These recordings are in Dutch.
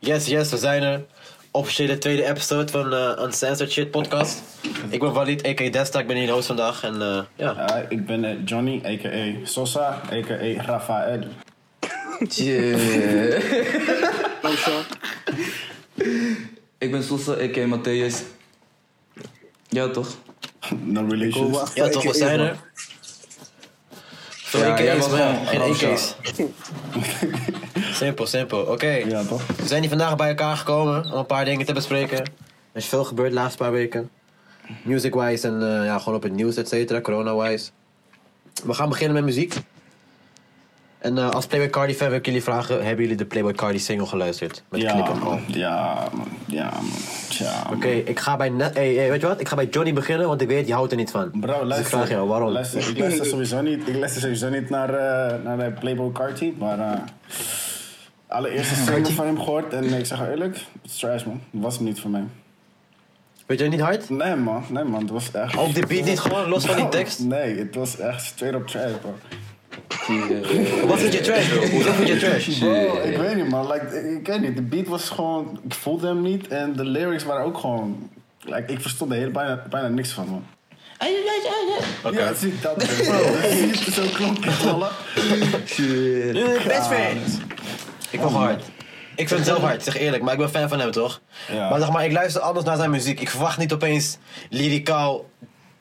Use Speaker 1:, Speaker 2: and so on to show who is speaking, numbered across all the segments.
Speaker 1: Yes, yes, we zijn er. Officiële tweede episode van eh Uncensored Shit podcast. Ik ben Walid, a.k.a. Desta. Ik ben hier de host vandaag. En eh, ja,
Speaker 2: Ja, ik ben eh, Johnny, a.k.a. Sosa, a.k.a. Rafael.
Speaker 3: Ik ben Sosa, a.k.a. Matthäus. Ja, toch?
Speaker 2: No relations.
Speaker 1: ja toch, we zijn er. Veel
Speaker 3: Ja, jij
Speaker 1: AK's,
Speaker 3: was
Speaker 1: maar ja,
Speaker 3: gewoon
Speaker 1: geen
Speaker 3: Ramsha.
Speaker 1: AK's. Simpel, simpel. Oké,
Speaker 2: Ja, toch?
Speaker 1: we zijn hier vandaag bij elkaar gekomen om een paar dingen te bespreken. Er is veel gebeurd de laatste paar weken. Music-wise en eh, ja, gewoon op het nieuws, et cetera, corona-wise. We gaan beginnen met muziek. En eh, als Playboy Cardi fan wil ik jullie vragen, hebben jullie de Playboy Cardi single geluisterd? Met
Speaker 2: Ja,
Speaker 1: knip en al.
Speaker 2: man. Ja, man. Ja, man. Tja, man.
Speaker 1: Oké, ik ga bij net, hey, hey, weet je wat? Ik ga bij Johnny beginnen, want ik weet, je houdt er niet van.
Speaker 2: Bro,
Speaker 1: dus ik
Speaker 2: luister.
Speaker 1: vraag jou, waarom?
Speaker 2: Luister, ik, luister sowieso niet, ik luister sowieso niet naar, eh, naar de Playboy Carti, maar... eh allereerste single van hem gehoord en ik zeg eerlijk, het is trash, man. Het was hem niet voor mij.
Speaker 1: Weet je het niet hard?
Speaker 2: Nee, man. Nee, man. Het was echt...
Speaker 1: Ook de beat niet gewoon, los van die Oh, tekst?
Speaker 2: Nee, het was echt straight up trash, bro.
Speaker 3: eh,
Speaker 1: Wat vind je trash, bro? Hoezo vind je trash?
Speaker 2: Bro, ik weet niet man, like, ik, ik weet niet, de beat was gewoon, ik voelde hem niet en de lyrics waren ook gewoon, like, ik verstond er heel- bijna, bijna niks van man.
Speaker 1: Oké.
Speaker 2: Ja, zie dat bro, zie je, zo klonk het wel.
Speaker 1: Eh, Best friends. Ik vond het hard. Oh, Ik vind het heel hard, zeg eerlijk, maar ik ben fan van hem toch?
Speaker 2: Ja.
Speaker 1: Maar zeg maar, ik luister anders naar zijn muziek. Ik verwacht niet opeens lyricaal,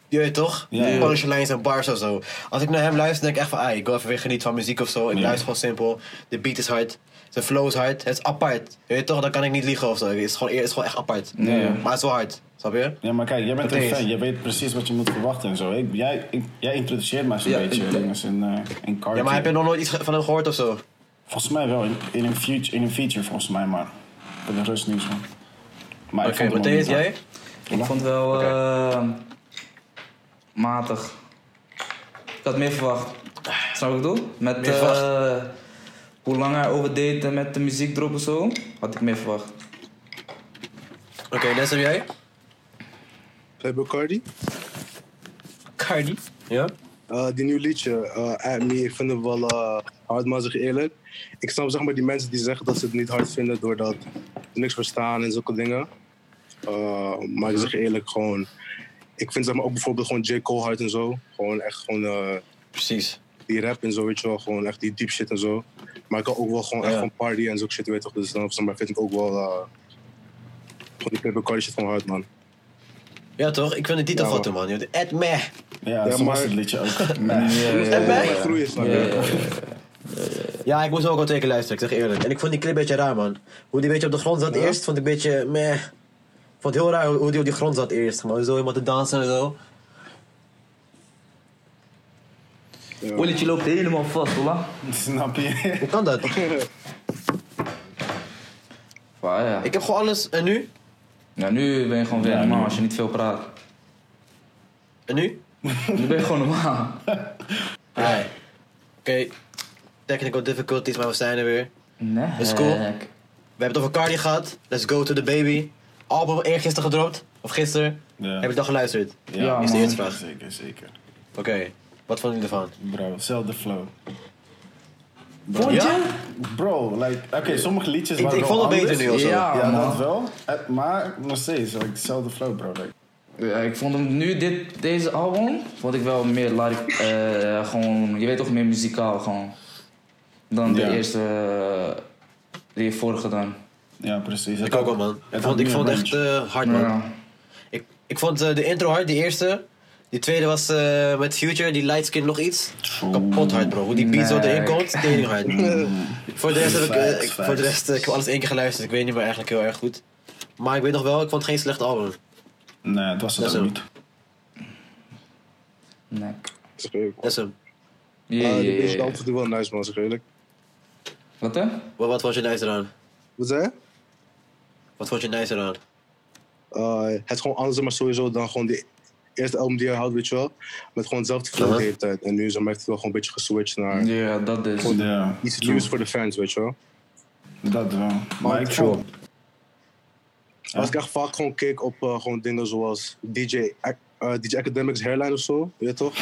Speaker 1: je weet toch?
Speaker 2: ja.
Speaker 1: Punchlines en bars of zo. Als ik naar hem luister, denk ik echt van, ah, ik wil even weer genieten van muziek of zo. Ik luister gewoon simpel. De beat is hard. Zijn flow is hard. Het is apart. Je weet toch, dan kan ik niet liegen of zo. Het is gewoon, het is gewoon echt apart. Maar het is wel hard, snap je?
Speaker 2: Ja, maar kijk, jij bent
Speaker 1: Wat
Speaker 2: een
Speaker 1: is?
Speaker 2: fan, jij weet precies wat je moet verwachten en zo. Ik, jij, ik, jij introduceert mij zo'n
Speaker 3: Ja,
Speaker 2: beetje
Speaker 3: ik-
Speaker 2: jongens en, eh en Carti.
Speaker 1: Ja, maar heb je nog nooit iets ge- van hem gehoord of zo?
Speaker 2: Volgens mij wel, in, in, een, feature, in een feature volgens mij, maar ik heb er rust nieuws van. Maar
Speaker 1: Oké,
Speaker 2: ik vond hem
Speaker 1: Matthäus,
Speaker 2: ook niet
Speaker 1: jij?
Speaker 3: Ik vond het wel eh, matig. Ik had meer verwacht. Snap je wat ik bedoel? Met
Speaker 1: Meer
Speaker 3: eh,
Speaker 1: verwacht.
Speaker 3: hoe lang hij overdeed en met de muziek erop en zo, had ik meer verwacht.
Speaker 1: Oké, Les, heb jij?
Speaker 4: Playboy Cardi.
Speaker 1: Cardi. Ja?
Speaker 4: Eh, die nieuw liedje, eh, At Me, ik vind het wel eh, hard, maar zeg je eerlijk. Ik snap zeg maar die mensen die zeggen dat ze het niet hard vinden doordat ze niks verstaan en zulke dingen. Eh, maar ik zeg je eerlijk, gewoon... Ik vind zeg maar ook bijvoorbeeld gewoon J. Cole hard en zo. Gewoon echt gewoon eh,
Speaker 1: Precies.
Speaker 4: die rap en zo, weet je wel. Gewoon echt die deep shit en zo. Maar ik kan ook wel gewoon echt
Speaker 1: Ja.
Speaker 4: gewoon party en zulke shit, weet je toch. Dus dan zeg maar, vind ik ook wel... eh, gewoon die Playboy Cardi shit gewoon hard, man.
Speaker 1: Ja toch? Ik vind de titel
Speaker 4: Ja,
Speaker 1: goed man. Je Ed Meh.
Speaker 2: van. Ja, zo
Speaker 4: maar-
Speaker 2: was het liedje ook. Nee.
Speaker 4: En
Speaker 1: mij?
Speaker 4: Groeien, snap je?
Speaker 1: Ja, ik moest hem ook al twee keer luisteren, ik zeg eerlijk. En ik vond die clip een beetje raar man. Hoe die een beetje op de grond zat eerst, vond ik een beetje meh. Ik vond het heel raar hoe die op die grond zat eerst. Maar zo helemaal te dansen en zo.
Speaker 3: Willetje loopt helemaal vast, hola.
Speaker 2: Snap je?
Speaker 1: Hoe kan dat?
Speaker 3: ja.
Speaker 1: Ik heb gewoon alles. En nu?
Speaker 3: Nou, nu ben je gewoon weer
Speaker 2: Ja,
Speaker 3: normaal
Speaker 2: nu.
Speaker 3: als je niet veel praat.
Speaker 1: En nu?
Speaker 3: Nu ben je gewoon normaal.
Speaker 1: Nee. Oké. Technical difficulties, maar we zijn er weer.
Speaker 3: Nee.
Speaker 1: is cool. We hebben het over Cardi gehad. Let's go to the baby. Album eergisteren gedropt. Of gisteren.
Speaker 2: Ja.
Speaker 1: Heb je dat geluisterd?
Speaker 3: Ja,
Speaker 1: is de
Speaker 3: man.
Speaker 1: eerste vraag.
Speaker 2: Zeker, zeker.
Speaker 1: Oké. Wat vonden jullie ervan?
Speaker 2: Bro, zelfde flow.
Speaker 1: Vond je?
Speaker 2: Bro, like, oké, sommige liedjes
Speaker 1: Ik,
Speaker 2: waren
Speaker 1: ik
Speaker 2: wel
Speaker 1: vond het beter
Speaker 2: anders.
Speaker 1: nu of zo.
Speaker 3: Ja.
Speaker 2: Ja, dat
Speaker 3: man.
Speaker 2: wel. Eh, Maar nog steeds, like, dezelfde flow, bro. Like,
Speaker 3: Ja, ik vond hem nu, dit, deze album, vond ik wel meer, laat ik, eh, gewoon, je weet toch, meer muzikaal gewoon. Dan de
Speaker 2: Ja.
Speaker 3: eerste, eh, die vorige dan.
Speaker 2: ja, precies.
Speaker 1: Ik ook wel, man. Ik
Speaker 2: had
Speaker 1: vond, ik
Speaker 2: meer
Speaker 1: vond het echt
Speaker 2: range.
Speaker 1: eh, hard, man.
Speaker 3: Ja.
Speaker 1: Ik, ik vond eh, de intro hard, die eerste. Die tweede was eh, met Future, die lightskin nog iets. Kapot hard, bro. Hoe die beat zo
Speaker 3: Nee.
Speaker 1: erin komt, tering hard. voor de rest, heb ik, eh,
Speaker 2: Facts,
Speaker 1: ik-
Speaker 2: facts.
Speaker 1: voor de rest eh, ik heb alles één keer geluisterd. Ik weet niet meer eigenlijk heel erg goed. Maar ik weet nog wel, ik vond het geen slecht album.
Speaker 2: Nee, dat was
Speaker 1: eh, Dat
Speaker 2: het
Speaker 1: is
Speaker 2: ook
Speaker 1: hem.
Speaker 2: niet.
Speaker 3: Nee.
Speaker 4: Zeg je eerlijk.
Speaker 1: Dat is hem.
Speaker 3: Jee,
Speaker 4: Eh,
Speaker 3: jee,
Speaker 4: die
Speaker 3: jee.
Speaker 4: beat is wel nice, man, zeg je eerlijk.
Speaker 3: Wat hè?
Speaker 1: Wat, wat vond je nice eraan?
Speaker 4: Wat zei je?
Speaker 1: Wat vond je nice eraan?
Speaker 4: Eh, het is gewoon anders, maar sowieso dan gewoon die eerste album die hij had, weet je wel. Met gewoon hetzelfde flow
Speaker 1: Uh-huh.
Speaker 4: de hele tijd. En nu zeg maar, heeft hij wel gewoon een beetje geswitcht naar
Speaker 3: Ja, dat dus. is.
Speaker 2: Ja,
Speaker 4: iets
Speaker 2: true.
Speaker 4: nieuws voor de fans, weet je wel.
Speaker 2: Dat wel. Maar ik
Speaker 1: True.
Speaker 2: vond...
Speaker 4: Als ik echt vaak gewoon keek op eh, gewoon dingen zoals DJ, Ac- eh, DJ Academics Hairline of zo, weet je toch?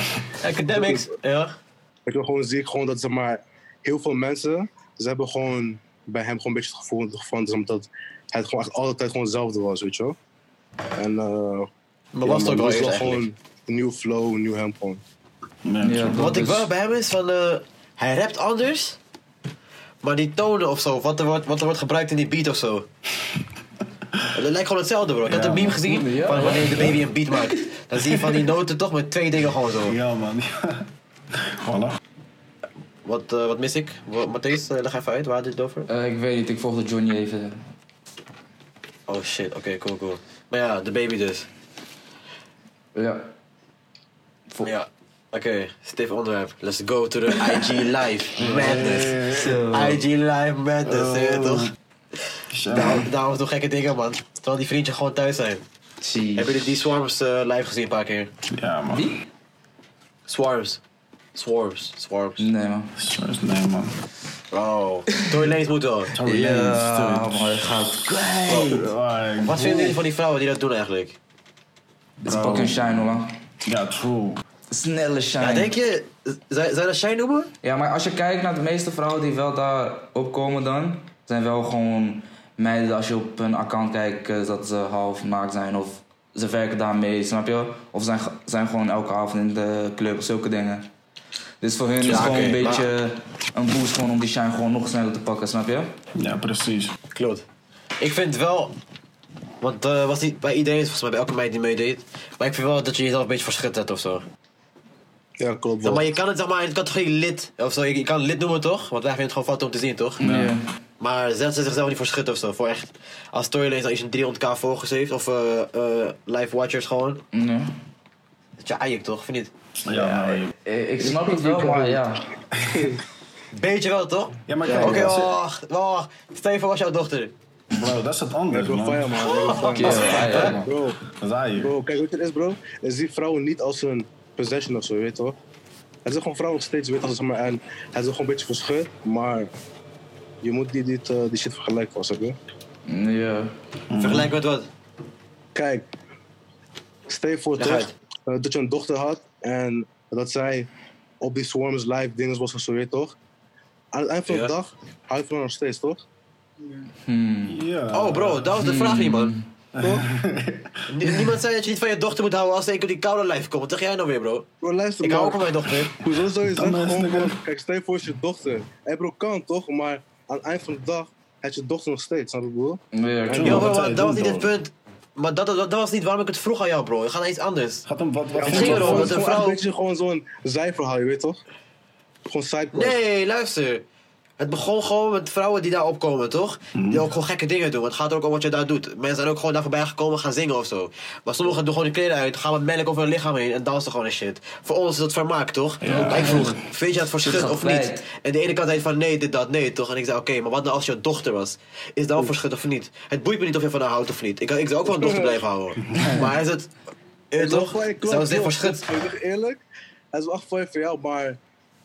Speaker 1: Academics, ja.
Speaker 4: Ik wil gewoon zie ik gewoon dat zeg maar, heel veel mensen, ze hebben gewoon bij hem gewoon een beetje het gevoel van is omdat het gewoon echt altijd gewoon hetzelfde was, weet je wel. En eh
Speaker 1: Maar was het ook wel
Speaker 4: is
Speaker 1: eens eigenlijk.
Speaker 4: gewoon een nieuw flow, een nieuw hem gewoon.
Speaker 3: Ja, dat
Speaker 1: Wat ik
Speaker 3: is-
Speaker 1: wel bij hem is van, eh, hij rapt anders, maar die tonen of zo, wat er wordt, wat er wordt gebruikt in die beat of zo. Het lijkt gewoon hetzelfde bro. Ik had
Speaker 3: Ja,
Speaker 1: een meme
Speaker 3: man.
Speaker 1: gezien
Speaker 3: Ja,
Speaker 1: van
Speaker 3: man.
Speaker 1: wanneer de baby een beat maakt. Dan zie je van die noten toch met twee dingen gewoon zo.
Speaker 2: Ja, man. voilà.
Speaker 1: Wat, eh, wat mis ik? Wat- Matthijs, eh, leg even uit, waar had dit over?
Speaker 3: Eh, ik weet niet, ik volgde Johnny even.
Speaker 1: Oh shit, oké, cool, cool. Maar ja, de baby dus.
Speaker 3: Ja. Vol-
Speaker 1: Ja. Oké, stiff onderwerp. Let's go to the IG Live Madness. IG Live Madness, weet je toch?
Speaker 2: Shout-out.
Speaker 1: Daarom, daarom doen gekke dingen, man. Terwijl die vriendjes gewoon thuis zijn.
Speaker 3: Zie.
Speaker 1: Hebben jullie die Swarms eh, live gezien een paar keer?
Speaker 2: Ja, man.
Speaker 3: Wie?
Speaker 1: Swarms. Swarms. Swarms.
Speaker 3: Nee man.
Speaker 2: Sorry, Nee, man.
Speaker 1: Wow. Tory Lanez moet wel.
Speaker 2: Tory Lanez,
Speaker 3: Ja, maar het gaat
Speaker 2: Like,
Speaker 1: Wat vinden jullie van die vrouwen die dat doen eigenlijk?
Speaker 3: Het is fucking shine hoor man.
Speaker 2: Ja, true.
Speaker 3: Snelle shine.
Speaker 1: Ja, denk je, zou zou dat Shine noemen?
Speaker 3: Ja, maar als je kijkt naar de meeste vrouwen die wel daar opkomen dan... zijn wel gewoon meiden, als je op hun account kijkt, eh, dat ze half naakt zijn of... Ze werken daarmee, snap je? Of zijn, ge- zijn gewoon elke avond in de club, zulke dingen. Dus voor hun is
Speaker 1: Ja,
Speaker 3: het gewoon
Speaker 1: oké,
Speaker 3: een beetje een boost gewoon om die shine gewoon nog sneller te pakken, snap je?
Speaker 2: Ja, precies.
Speaker 1: Klopt. Ik vind wel. Want eh, was niet bij iedereen, volgens mij bij elke meid die meedeed. Maar ik vind wel dat je jezelf een beetje voor schut zet of zo.
Speaker 4: Ja, klopt
Speaker 1: Ja,
Speaker 4: wel.
Speaker 1: maar je kan het zeg maar in de categorie lid. Of zo, je, je kan het lid noemen toch? Want wij vinden het gewoon fout om te zien toch?
Speaker 3: Ja.
Speaker 1: Maar zet ze zichzelf niet voor schut of zo. Voor echt. Als Storylanez al iets een 300k volgers heeft. Of eh, eh, live watchers gewoon.
Speaker 3: Nee.
Speaker 1: Dat je eigenlijk toch? Of niet?
Speaker 2: Ja, maar-
Speaker 3: Eh, Ik snap het wel, maar ja.
Speaker 1: Beetje wel toch?
Speaker 2: ja maar
Speaker 1: Oké, oh.
Speaker 2: kijk, als je-
Speaker 1: wacht, wacht. Stel je voor, was jouw dochter.
Speaker 2: bro, dat is het anders,
Speaker 4: Ik ben
Speaker 2: man.
Speaker 4: fan, man. Ik ben fan.
Speaker 3: Ja, ja, ja.
Speaker 4: Bro,
Speaker 2: Dat is hij.
Speaker 4: bro, kijk wat het is, bro. Ik zie vrouwen niet als een possession of zo, weet je wel. Het zijn gewoon vrouwen nog steeds, weet je wel, zeg maar. En het is gewoon een beetje verschil, maar je moet die, dit, eh, die shit vergelijken, was je?
Speaker 3: Ja.
Speaker 2: Mm.
Speaker 1: Vergelijk met wat?
Speaker 4: Kijk, stel je voor
Speaker 1: Leg
Speaker 4: toch
Speaker 1: uit.
Speaker 4: eh, dat je een dochter had en dat zij op die Swarms live dingen was of zo, weet je toch? Aan het eind van
Speaker 1: Ja.
Speaker 4: de dag hou je van haar nog steeds, toch?
Speaker 3: Hmm.
Speaker 2: Ja.
Speaker 1: Oh bro, dat was de
Speaker 2: Mm.
Speaker 1: vraag niet man. Toch? Nie- Niemand zei dat je niet van je dochter moet houden als ze enkel die koude lijf komt. Wat zeg jij nou weer bro?
Speaker 4: Bro, luister
Speaker 1: Ik
Speaker 4: maar.
Speaker 1: hou ook van mijn dochter.
Speaker 4: Hoezo zou je zeggen
Speaker 2: is
Speaker 4: gewoon,
Speaker 2: het
Speaker 4: gewoon-
Speaker 2: lekker.
Speaker 4: kijk, stel je voor is je dochter. Hé bro, kan toch, maar aan het eind van de dag heb je dochter nog steeds, snap je wat ik
Speaker 3: Ja,
Speaker 4: bedoel?
Speaker 1: Ja,
Speaker 2: wat
Speaker 1: maar
Speaker 2: zou je
Speaker 1: dat was
Speaker 2: doen,
Speaker 1: niet het
Speaker 2: bro?
Speaker 1: punt. Maar dat, dat, dat was niet waarom ik het vroeg aan jou bro. We gaan naar iets anders.
Speaker 2: Gaat hem wat... wat
Speaker 1: het ging erom.
Speaker 4: Gewoon-
Speaker 1: dat een
Speaker 4: gewoon
Speaker 1: vrouw-
Speaker 4: Een beetje gewoon zo'n zijverhaal, je weet toch? Gewoon sidequest.
Speaker 1: Nee, luister. Het begon gewoon met vrouwen die daar opkomen, toch? Die ook gewoon gekke dingen doen. Want het gaat er ook om wat je daar doet. Mensen zijn ook gewoon daar voorbij gekomen gaan zingen of zo. Maar sommigen doen gewoon hun kleren uit, gaan wat melk over hun lichaam heen en dansen gewoon en shit. Voor ons is dat vermaak, toch? Maar ik vroeg, vind je dat voor schut
Speaker 3: gaat
Speaker 1: of niet?
Speaker 3: wijd.
Speaker 1: En de ene kant zei van nee, dit, dat, nee, toch? En ik zei, oké, maar wat nou als je een dochter was? Is dat voor schut of niet? Het boeit me niet of je van haar houdt of niet. Ik, ik zou ook wel een dochter blijven houden. hoor. Maar is het... eh,
Speaker 4: Het is wel
Speaker 1: toch?
Speaker 4: gelijk, klopt,
Speaker 1: Zou ze dit voor
Speaker 4: klopt,
Speaker 1: schut?
Speaker 4: klopt. Ik zeg eerlijk, het is wel echt voor voor jou, maar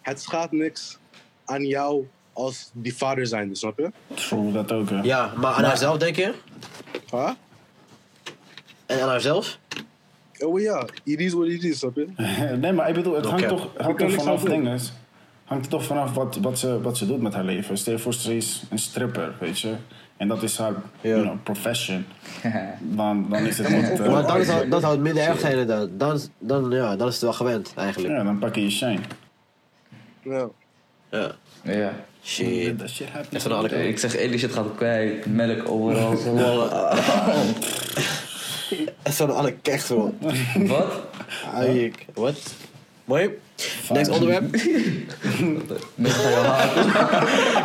Speaker 4: het schaadt niks aan jou als die vader zijnde, snap je?
Speaker 2: True, dat ook, hè.
Speaker 1: Ja, maar aan haarzelf denk je?
Speaker 4: Huh?
Speaker 1: En aan haarzelf?
Speaker 4: Oh ja, it is what it is, snap je?
Speaker 2: Nee, maar ik bedoel, het hangt
Speaker 1: cap.
Speaker 2: toch, hangt
Speaker 4: kan
Speaker 2: toch
Speaker 4: niks
Speaker 2: vanaf
Speaker 4: aan doen.
Speaker 2: dingen. Hangt er toch vanaf wat, wat, ze, wat ze doet met haar leven. Stel je voor, ze is een stripper, weet je. En dat is haar you know, profession. Dan, dan is het niet... eh,
Speaker 1: Maar dan zou, dan zou het minder erg zijn inderdaad. Dan, dan, ja, dan is het wel gewend eigenlijk.
Speaker 2: ja, dan pak je je shine.
Speaker 4: Ja.
Speaker 1: Ja.
Speaker 3: Ja.
Speaker 1: Shit.
Speaker 2: That shit happens.
Speaker 1: Echt van alle
Speaker 3: Ik zeg eerlijk, shit gaat kwijt. Melk overal.
Speaker 1: Echt van alle kechts man.
Speaker 3: Wat?
Speaker 1: Ayik. Wat? Mooi. Next onderwerp.
Speaker 3: Met je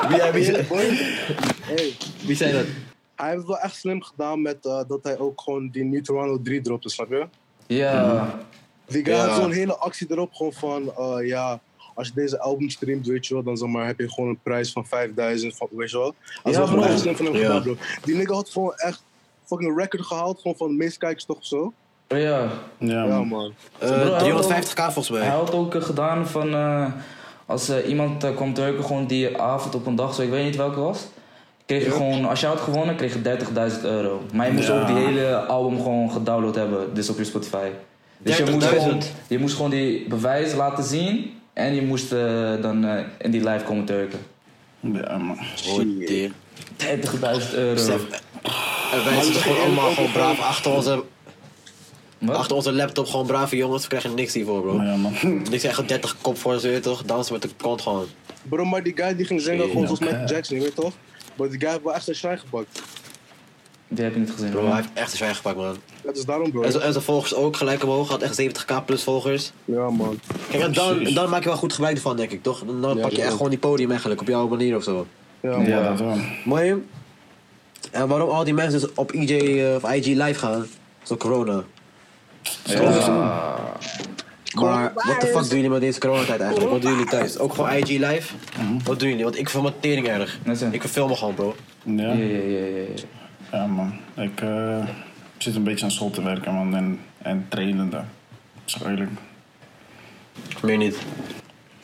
Speaker 1: Wie, ja, wie, Eh, zei-
Speaker 4: Boy, hey,
Speaker 1: wie zei dat?
Speaker 4: hij heeft het wel echt slim gedaan met eh, dat hij ook gewoon die New Toronto 3 dropte, snap je?
Speaker 3: Ja.
Speaker 4: Die guy
Speaker 1: Ja.
Speaker 4: had zo'n hele actie erop, gewoon van, eh, ja, als je deze album streamt, weet je wel, dan zeg maar, heb je gewoon een prijs van 5000, van, weet je wel. Dat is
Speaker 1: Ja,
Speaker 4: wel gewoon
Speaker 1: bro.
Speaker 4: echt slim van hem
Speaker 1: Ja.
Speaker 4: gedaan, bro. Die nigga had gewoon echt fucking record gehaald, gewoon van de meeste kijkers toch of zo.
Speaker 3: Ja.
Speaker 2: Ja,
Speaker 4: Ja,
Speaker 2: man.
Speaker 4: man.
Speaker 1: Eh, 350k volgens
Speaker 3: Hij
Speaker 1: mij.
Speaker 3: had ook eh, gedaan van... eh, als eh, iemand eh, kwam drukken gewoon die avond op een dag, zo ik weet niet welke was. Kreeg je gewoon, als je had gewonnen, kreeg je 30.000 euro. Maar je moest
Speaker 2: Ja.
Speaker 3: ook die hele album gewoon gedownload hebben, dus op je Spotify. Dus je moest,
Speaker 1: 30.000?
Speaker 3: gewoon, je moest gewoon die bewijs laten zien en je moest eh, dan eh, in die live komen turken.
Speaker 2: Ja, man.
Speaker 1: Hoor die.
Speaker 3: 30.000 euro.
Speaker 1: En wij zitten gewoon allemaal gewoon braaf achter onze,
Speaker 3: Wat?
Speaker 1: achter onze laptop. Gewoon brave jongens. We krijgen niks hiervoor, bro.
Speaker 2: Maar ja, man.
Speaker 1: Ik zeg echt 30 kop voor ze, weet je toch? Dansen met de kont gewoon.
Speaker 4: Bro, maar die guy die ging zingen, gewoon
Speaker 2: Oké.
Speaker 4: volgens mij Jackson, je weet toch? Maar die guy heeft wel echt zijn shine gepakt.
Speaker 3: Die heb je niet gezien.
Speaker 1: Bro,
Speaker 3: man.
Speaker 1: hij heeft echt een zwijg gepakt, man.
Speaker 4: Dat is daarom, bro.
Speaker 1: En, zo- en zijn volgers ook gelijk omhoog. Had echt 70k plus volgers.
Speaker 4: Ja, man.
Speaker 1: Kijk, en dan, dan maak je wel goed gebruik ervan, denk ik, toch? Dan dan
Speaker 4: Ja,
Speaker 1: pak je
Speaker 4: zo.
Speaker 1: echt gewoon die podium eigenlijk, op jouw manier of zo.
Speaker 4: Ja, man.
Speaker 2: Ja, dat wel.
Speaker 1: Mooi. En waarom al die mensen dus op IJ eh, of IG live gaan? Zo corona.
Speaker 3: Ja.
Speaker 1: Maar wat de fuck doen jullie met deze coronatijd eigenlijk? Wat doen jullie thuis? Ook gewoon IG live? Wat doen jullie? Want ik film mijn tering erg.
Speaker 3: Net zo.
Speaker 1: Ik verfilm me gewoon, bro.
Speaker 3: Ja,
Speaker 2: Ja,
Speaker 3: ja, ja, ja, ja.
Speaker 2: ja man. Ik eh, zit een beetje aan school te werken, man. En, en trainen daar. Zeg eerlijk.
Speaker 1: Meer niet.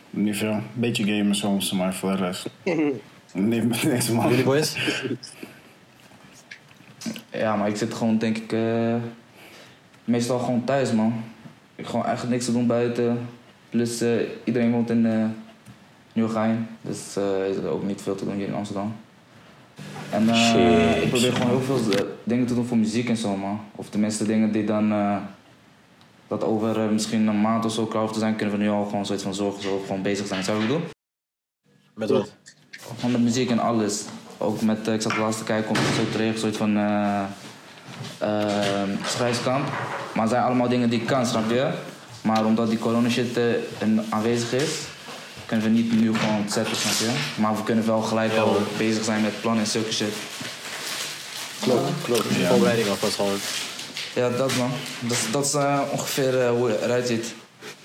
Speaker 2: Niet veel. Beetje gamen soms, maar voor de rest. Nee, niks man.
Speaker 1: Jullie boys?
Speaker 3: Ja, maar ik zit gewoon, denk ik, eh, meestal gewoon thuis, man. Ik heb gewoon echt niks te doen buiten. Plus, eh, iedereen woont in eh Nieuwegein. Dus eh, is er ook niet veel te doen hier in Amsterdam. En eh,
Speaker 1: Shit.
Speaker 3: ik probeer gewoon heel veel eh, dingen te doen voor muziek en zo, man. Of tenminste dingen die dan... eh, dat over eh, misschien een maand of zo klaar hoeft te zijn, kunnen we nu al gewoon zoiets van zorgen, zo gewoon bezig zijn. Zou ik bedoel?
Speaker 1: Met wat?
Speaker 3: Van de muziek en alles. Ook met, eh, ik zat laatst te kijken, komt zo terecht, een soort van eh eh, schrijfkamp. Maar het zijn allemaal dingen die ik kan, snap je? Maar omdat die corona shit eh, een- aanwezig is, kunnen we niet nu gewoon het zetten, snap je? Maar we kunnen wel gelijk al bezig zijn met plannen en zulke shit.
Speaker 1: Klopt, klopt. Voorbereiding alvast gewoon.
Speaker 3: Ja, dat man. Dat, is- dat is eh, ongeveer eh, hoe het eruit ziet.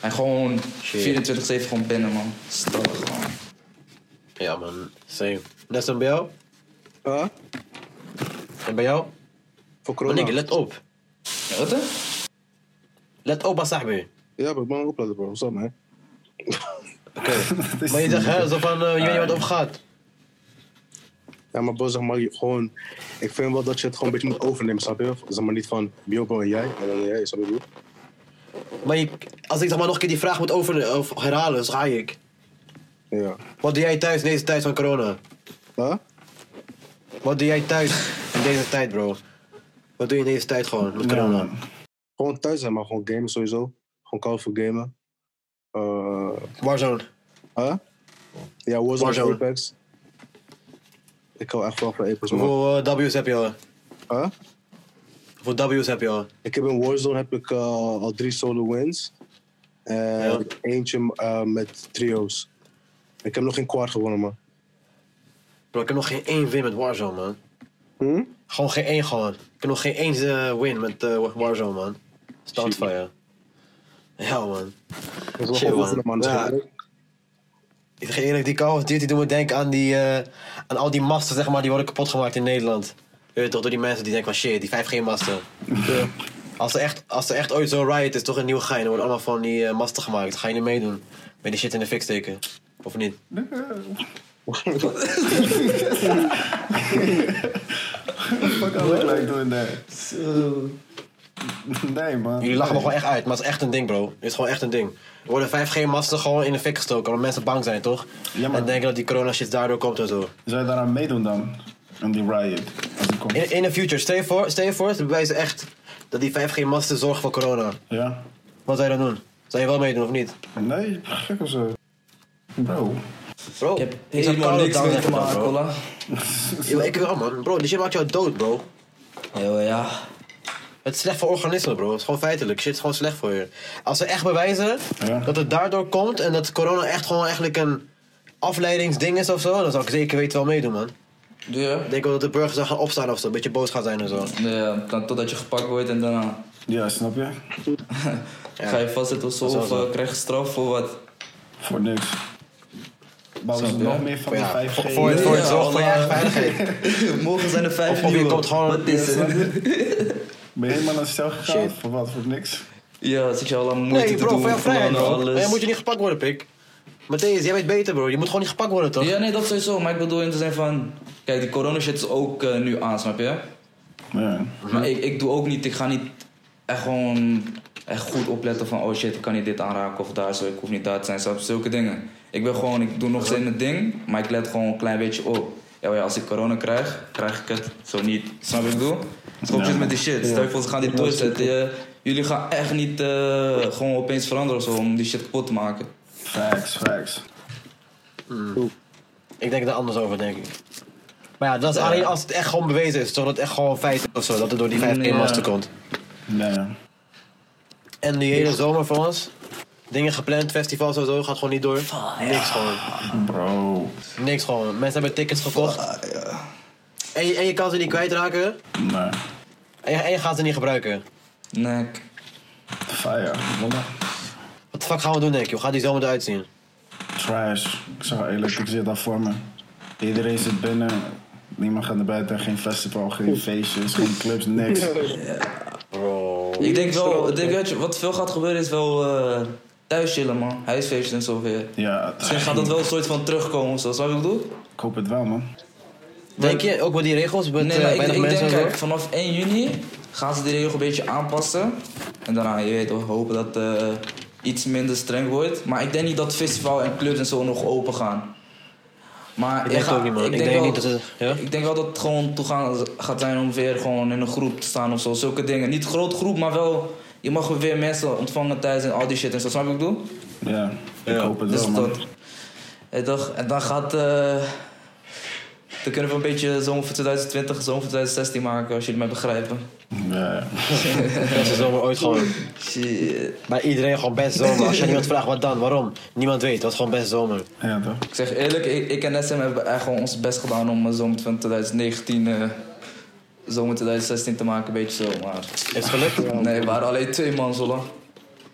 Speaker 3: En gewoon 24-7 gewoon binnen, man. Stel gewoon.
Speaker 1: Ja, man. Same. Neston, bij jou?
Speaker 4: Huh?
Speaker 1: En bij jou? Maar
Speaker 4: Voor corona.
Speaker 1: nee, let op.
Speaker 3: Wat hè?
Speaker 1: Let op, Basahbi.
Speaker 4: Ja, bro, ik ben aan het opladen, bro. What's up, man?
Speaker 1: Oké.
Speaker 2: is
Speaker 1: Maar je zegt, hè, zo van, eh, je weet niet wat op gaat.
Speaker 4: Ja, maar bro, zeg maar, je- gewoon... Ik vind wel dat je het gewoon een beetje moet overnemen, snap je? Zeg maar niet van, yo, bro, en jij? En dan jij, snap je, bro?
Speaker 1: Maar je- als ik zeg maar nog een keer die vraag moet over, of herhalen, dus ga ik.
Speaker 4: Ja.
Speaker 1: Wat doe jij thuis in deze tijd van corona?
Speaker 4: Huh?
Speaker 1: Wat doe jij thuis in deze tijd, bro? Wat doe je in deze tijd gewoon met
Speaker 2: Ja,
Speaker 1: corona?
Speaker 2: man.
Speaker 4: Gewoon thuis zijn, maar gewoon gamen sowieso. Gewoon koud voor gamen. Eh...
Speaker 1: Warzone.
Speaker 4: Huh? Ja, Warzone,
Speaker 1: Warzone.
Speaker 4: Apex. Ik hou echt wel van Apex, man.
Speaker 1: Hoeveel eh, W's heb je al?
Speaker 4: Huh?
Speaker 1: Hoeveel W's heb je al?
Speaker 4: Ik heb in Warzone heb ik eh, al drie solo wins. En
Speaker 1: Ja.
Speaker 4: eentje eh, met trio's. Ik heb nog geen kwart gewonnen, man.
Speaker 1: Bro, ik heb nog geen één win met Warzone, man.
Speaker 4: Hm?
Speaker 1: Gewoon geen één gewoon. Ik heb nog geen één eh, win met eh, Warzone, man. Stand van je. Ja, man.
Speaker 4: Dat is wel
Speaker 1: Shit,
Speaker 4: gewoon
Speaker 1: man.
Speaker 4: oefenen, man. Dus Dat is
Speaker 1: Ja.
Speaker 4: wel leuk.
Speaker 1: Ik zeg je eerlijk, die Call of Duty doen me denken aan, die, eh, aan al die masten, zeg maar, die worden kapot gemaakt in Nederland. Je weet toch, door die mensen die denken van shit, die 5G-masten. Als er, echt, als er echt ooit zo'n riot is, toch een nieuw gein, dan worden allemaal van die eh, masten gemaakt. Dan ga je niet meedoen. Ben je die shit in de fik steken. Of niet?
Speaker 2: Fuck all that like doing that. Nee, man.
Speaker 1: Jullie lachen me gewoon echt uit, maar het is echt een ding, bro. Het is gewoon echt een ding. Er worden 5G-masten gewoon in de fik gestoken, omdat mensen bang zijn, toch?
Speaker 2: Ja, maar-
Speaker 1: En denken dat die corona-shit daardoor komt en zo.
Speaker 2: Zou je daaraan meedoen dan? Aan die riot. Als die komt.
Speaker 1: In, in de future, stel je voor, stel je voor, ze bewijzen echt dat die 5G-masten zorgen voor corona.
Speaker 2: Ja?
Speaker 1: Wat zou je dan doen? Zou je wel meedoen of niet?
Speaker 2: Nee, gek of zo. Bro.
Speaker 1: Bro,
Speaker 3: Ik heb
Speaker 1: zou
Speaker 3: helemaal
Speaker 1: Carlo
Speaker 3: niks
Speaker 1: down
Speaker 3: mee te
Speaker 1: zeggen dan,
Speaker 3: maken,
Speaker 1: bro.
Speaker 3: hoor.
Speaker 1: Ja, maar ik wel, man. Bro, die shit maakt jou dood, bro.
Speaker 3: Ja, ja.
Speaker 1: Het is slecht voor organismen, bro. Het is gewoon feitelijk. Shit is gewoon slecht voor je. Als ze echt bewijzen
Speaker 2: Ja.
Speaker 1: dat het daardoor komt en dat corona echt gewoon eigenlijk een afleidingsding is of zo, dan zou ik zeker weten wel meedoen, man.
Speaker 3: Ja.
Speaker 1: Ik denk wel dat de burgers dan gaan opstaan of zo, een beetje boos gaan zijn en zo.
Speaker 3: Ja, dan, totdat je gepakt wordt en daarna
Speaker 2: Ja, snap je?
Speaker 3: ga je vastzitten of zo,
Speaker 1: Dat is
Speaker 3: of
Speaker 1: wel zo.
Speaker 3: eh, krijg je straf voor wat.
Speaker 2: Voor niks. Maar we
Speaker 3: Snap
Speaker 2: zijn
Speaker 3: je?
Speaker 2: nog meer van de
Speaker 1: Oh Ja,
Speaker 2: 5G.
Speaker 1: voor- voor-
Speaker 3: Ja,
Speaker 1: het zorgen voor je eigen
Speaker 3: Allah.
Speaker 1: veiligheid.
Speaker 3: Morgen zijn er vijf
Speaker 1: Of- of je
Speaker 3: nieuwe.
Speaker 1: komt gewoon-
Speaker 3: Wat is het?
Speaker 2: Ben je helemaal naar stel gegaan?
Speaker 1: Shit.
Speaker 2: Voor wat? Voor niks?
Speaker 3: Ja, zit je al aan moeite
Speaker 1: Nee,
Speaker 3: te
Speaker 1: bro,
Speaker 3: doen.
Speaker 1: voor jouw vrijheid,
Speaker 3: plannen,
Speaker 1: bro.
Speaker 3: alles.
Speaker 1: Maar jij moet je niet gepakt worden, pik. Matthäus, jij weet beter, bro. Je moet gewoon niet gepakt worden, toch?
Speaker 3: Ja, nee, dat sowieso. Maar ik bedoel in te zijn van... Kijk, die corona shit is ook eh, nu aan, snap je?
Speaker 2: Ja.
Speaker 3: Maar ik, ik doe ook niet, ik ga niet echt gewoon echt goed opletten van... Oh shit, ik kan niet dit aanraken of daar zo, ik hoef niet daar te zijn. Snap je? Zulke dingen. Ik ben gewoon, ik doe nog steeds mijn ding, maar ik let gewoon een klein beetje op. ja, maar ja, als ik corona krijg, krijg ik het. Zo niet. Snap je wat ik bedoel? Stop zit met die shit. Stel je voor, ze gaan dit doorzetten. Je- jullie gaan echt niet eh, gewoon opeens veranderen of zo om die shit kapot te maken.
Speaker 2: Facts, facts.
Speaker 1: Ik denk daar anders over, denk ik. Eh, Maar ja, dat is alleen als het echt gewoon bewezen is. Zodat het echt gewoon feit is of zo. Dat het door die 5
Speaker 3: Mm, Ja.
Speaker 1: master komt.
Speaker 2: Ja, ja.
Speaker 1: En die hele zomer voor ons. Dingen gepland, festivals en zo, gaat gewoon niet door. Niks gewoon.
Speaker 2: Bro.
Speaker 1: Niks gewoon. Mensen hebben tickets gekocht. en, je, en je kan ze niet kwijtraken.
Speaker 2: Nee.
Speaker 1: En je, en je gaat ze niet gebruiken.
Speaker 3: Nek.
Speaker 2: Fire.
Speaker 1: Wat de fuck gaan we doen, denk je? Hoe gaat die zomer eruit zien?
Speaker 2: Trash. Ik zeg wel eerlijk, ik zit daar voor me. Iedereen zit binnen. Niemand gaat naar buiten. Geen festival, geen feestjes, geen clubs, niks.
Speaker 3: Ik denk wel, ik denk, weet je, wat veel gaat gebeuren is wel eh, thuis chillen, man. Huisfeestjes en zo weer.
Speaker 2: Ja,
Speaker 3: Misschien Dus gaat dat wel een soort van terugkomen of zo. Snap je wat ik bedoel?
Speaker 2: ik hoop het wel, man.
Speaker 1: Denk je, ook met die regels, met
Speaker 3: Nee,
Speaker 1: eh,
Speaker 3: maar ik,
Speaker 1: weinig
Speaker 3: ik
Speaker 1: mensen
Speaker 3: denk,
Speaker 1: en zo?
Speaker 3: kijk, vanaf 1 juni gaan ze die regel een beetje aanpassen. En daarna, je weet toch, hopen dat eh iets minder streng wordt. Maar ik denk niet dat festival en clubs en zo nog open gaan. Maar
Speaker 1: Ik denk
Speaker 3: ga-
Speaker 1: het ook niet, man. Ik denk
Speaker 3: wel,
Speaker 1: niet dat het- ja?
Speaker 3: ik denk wel dat het gewoon toegaan gaat zijn om weer gewoon in een groep te staan of zo. Zulke dingen. Niet groot groep, maar wel... Je mag weer mensen ontvangen thuis en al die shit en zo. Snap je wat ik bedoel?
Speaker 2: Ja, ik hoop het wel,
Speaker 3: Dus
Speaker 2: man.
Speaker 3: dat... En dan, en dan gaat... eh, dan kunnen we een beetje zomer voor 2020, zomer voor 2016 maken, als jullie mij begrijpen.
Speaker 2: Ja, ja.
Speaker 1: Beste zomer ooit gewoon.
Speaker 3: Shit.
Speaker 1: Bij iedereen gewoon best zomer. Als je aan iemand vraagt wat dan, waarom? Niemand weet, dat is gewoon best zomer.
Speaker 2: ja, toch?
Speaker 3: Ik zeg eerlijk, ik, ik en SM hebben echt gewoon ons best gedaan om eh, zomer van 2019... eh, zomer 2016 te maken, een beetje zo, maar...
Speaker 1: Is het gelukt?
Speaker 3: Nee, we waren alleen twee man zo lang.